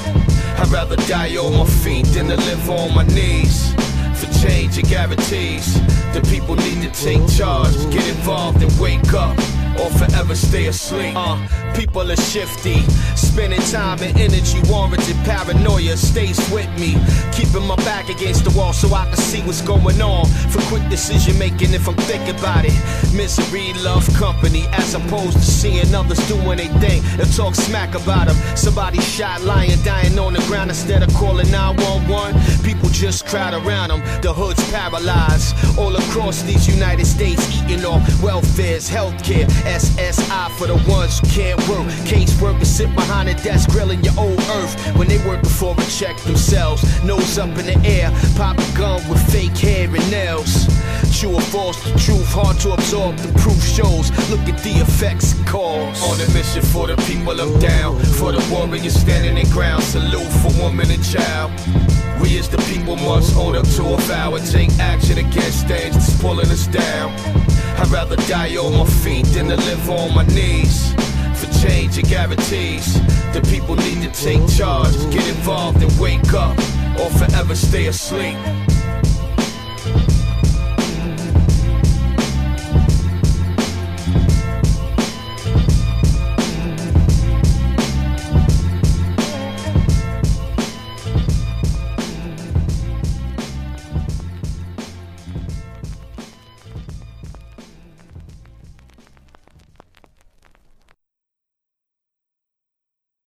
[SPEAKER 17] I'd rather die on my feet than to live on my knees. For change and guarantees, the people need to take charge, get involved and wake up. Or forever stay asleep. Uh, people are shifty. Spending time and energy warranted paranoia stays with me. Keeping my back against the wall so I can see what's going on. For quick decision making if I'm thinking about it. Misery, love, company, as opposed to seeing others doing they thing and talk smack about them. Somebody shot, lying, dying on the ground instead of calling 911. People just crowd around them. The hood's paralyzed. All across these United States, eating off welfare's healthcare. SSI for the ones who can't work. Case workers sit behind a desk grilling your old earth when they working for a check themselves. Nose up in the air, pop a gun with fake hair and nails. True or false, the truth hard to absorb. The proof shows. Look at the effects it caused. On a mission for the people of down, for the warriors standing in ground. Salute for woman and child. We as the people must own up to a vow and take action against things that's pulling us down. I'd rather die on my feet than to live on my knees. For change and guarantees, the people need to take charge, get involved and wake up, or forever stay asleep.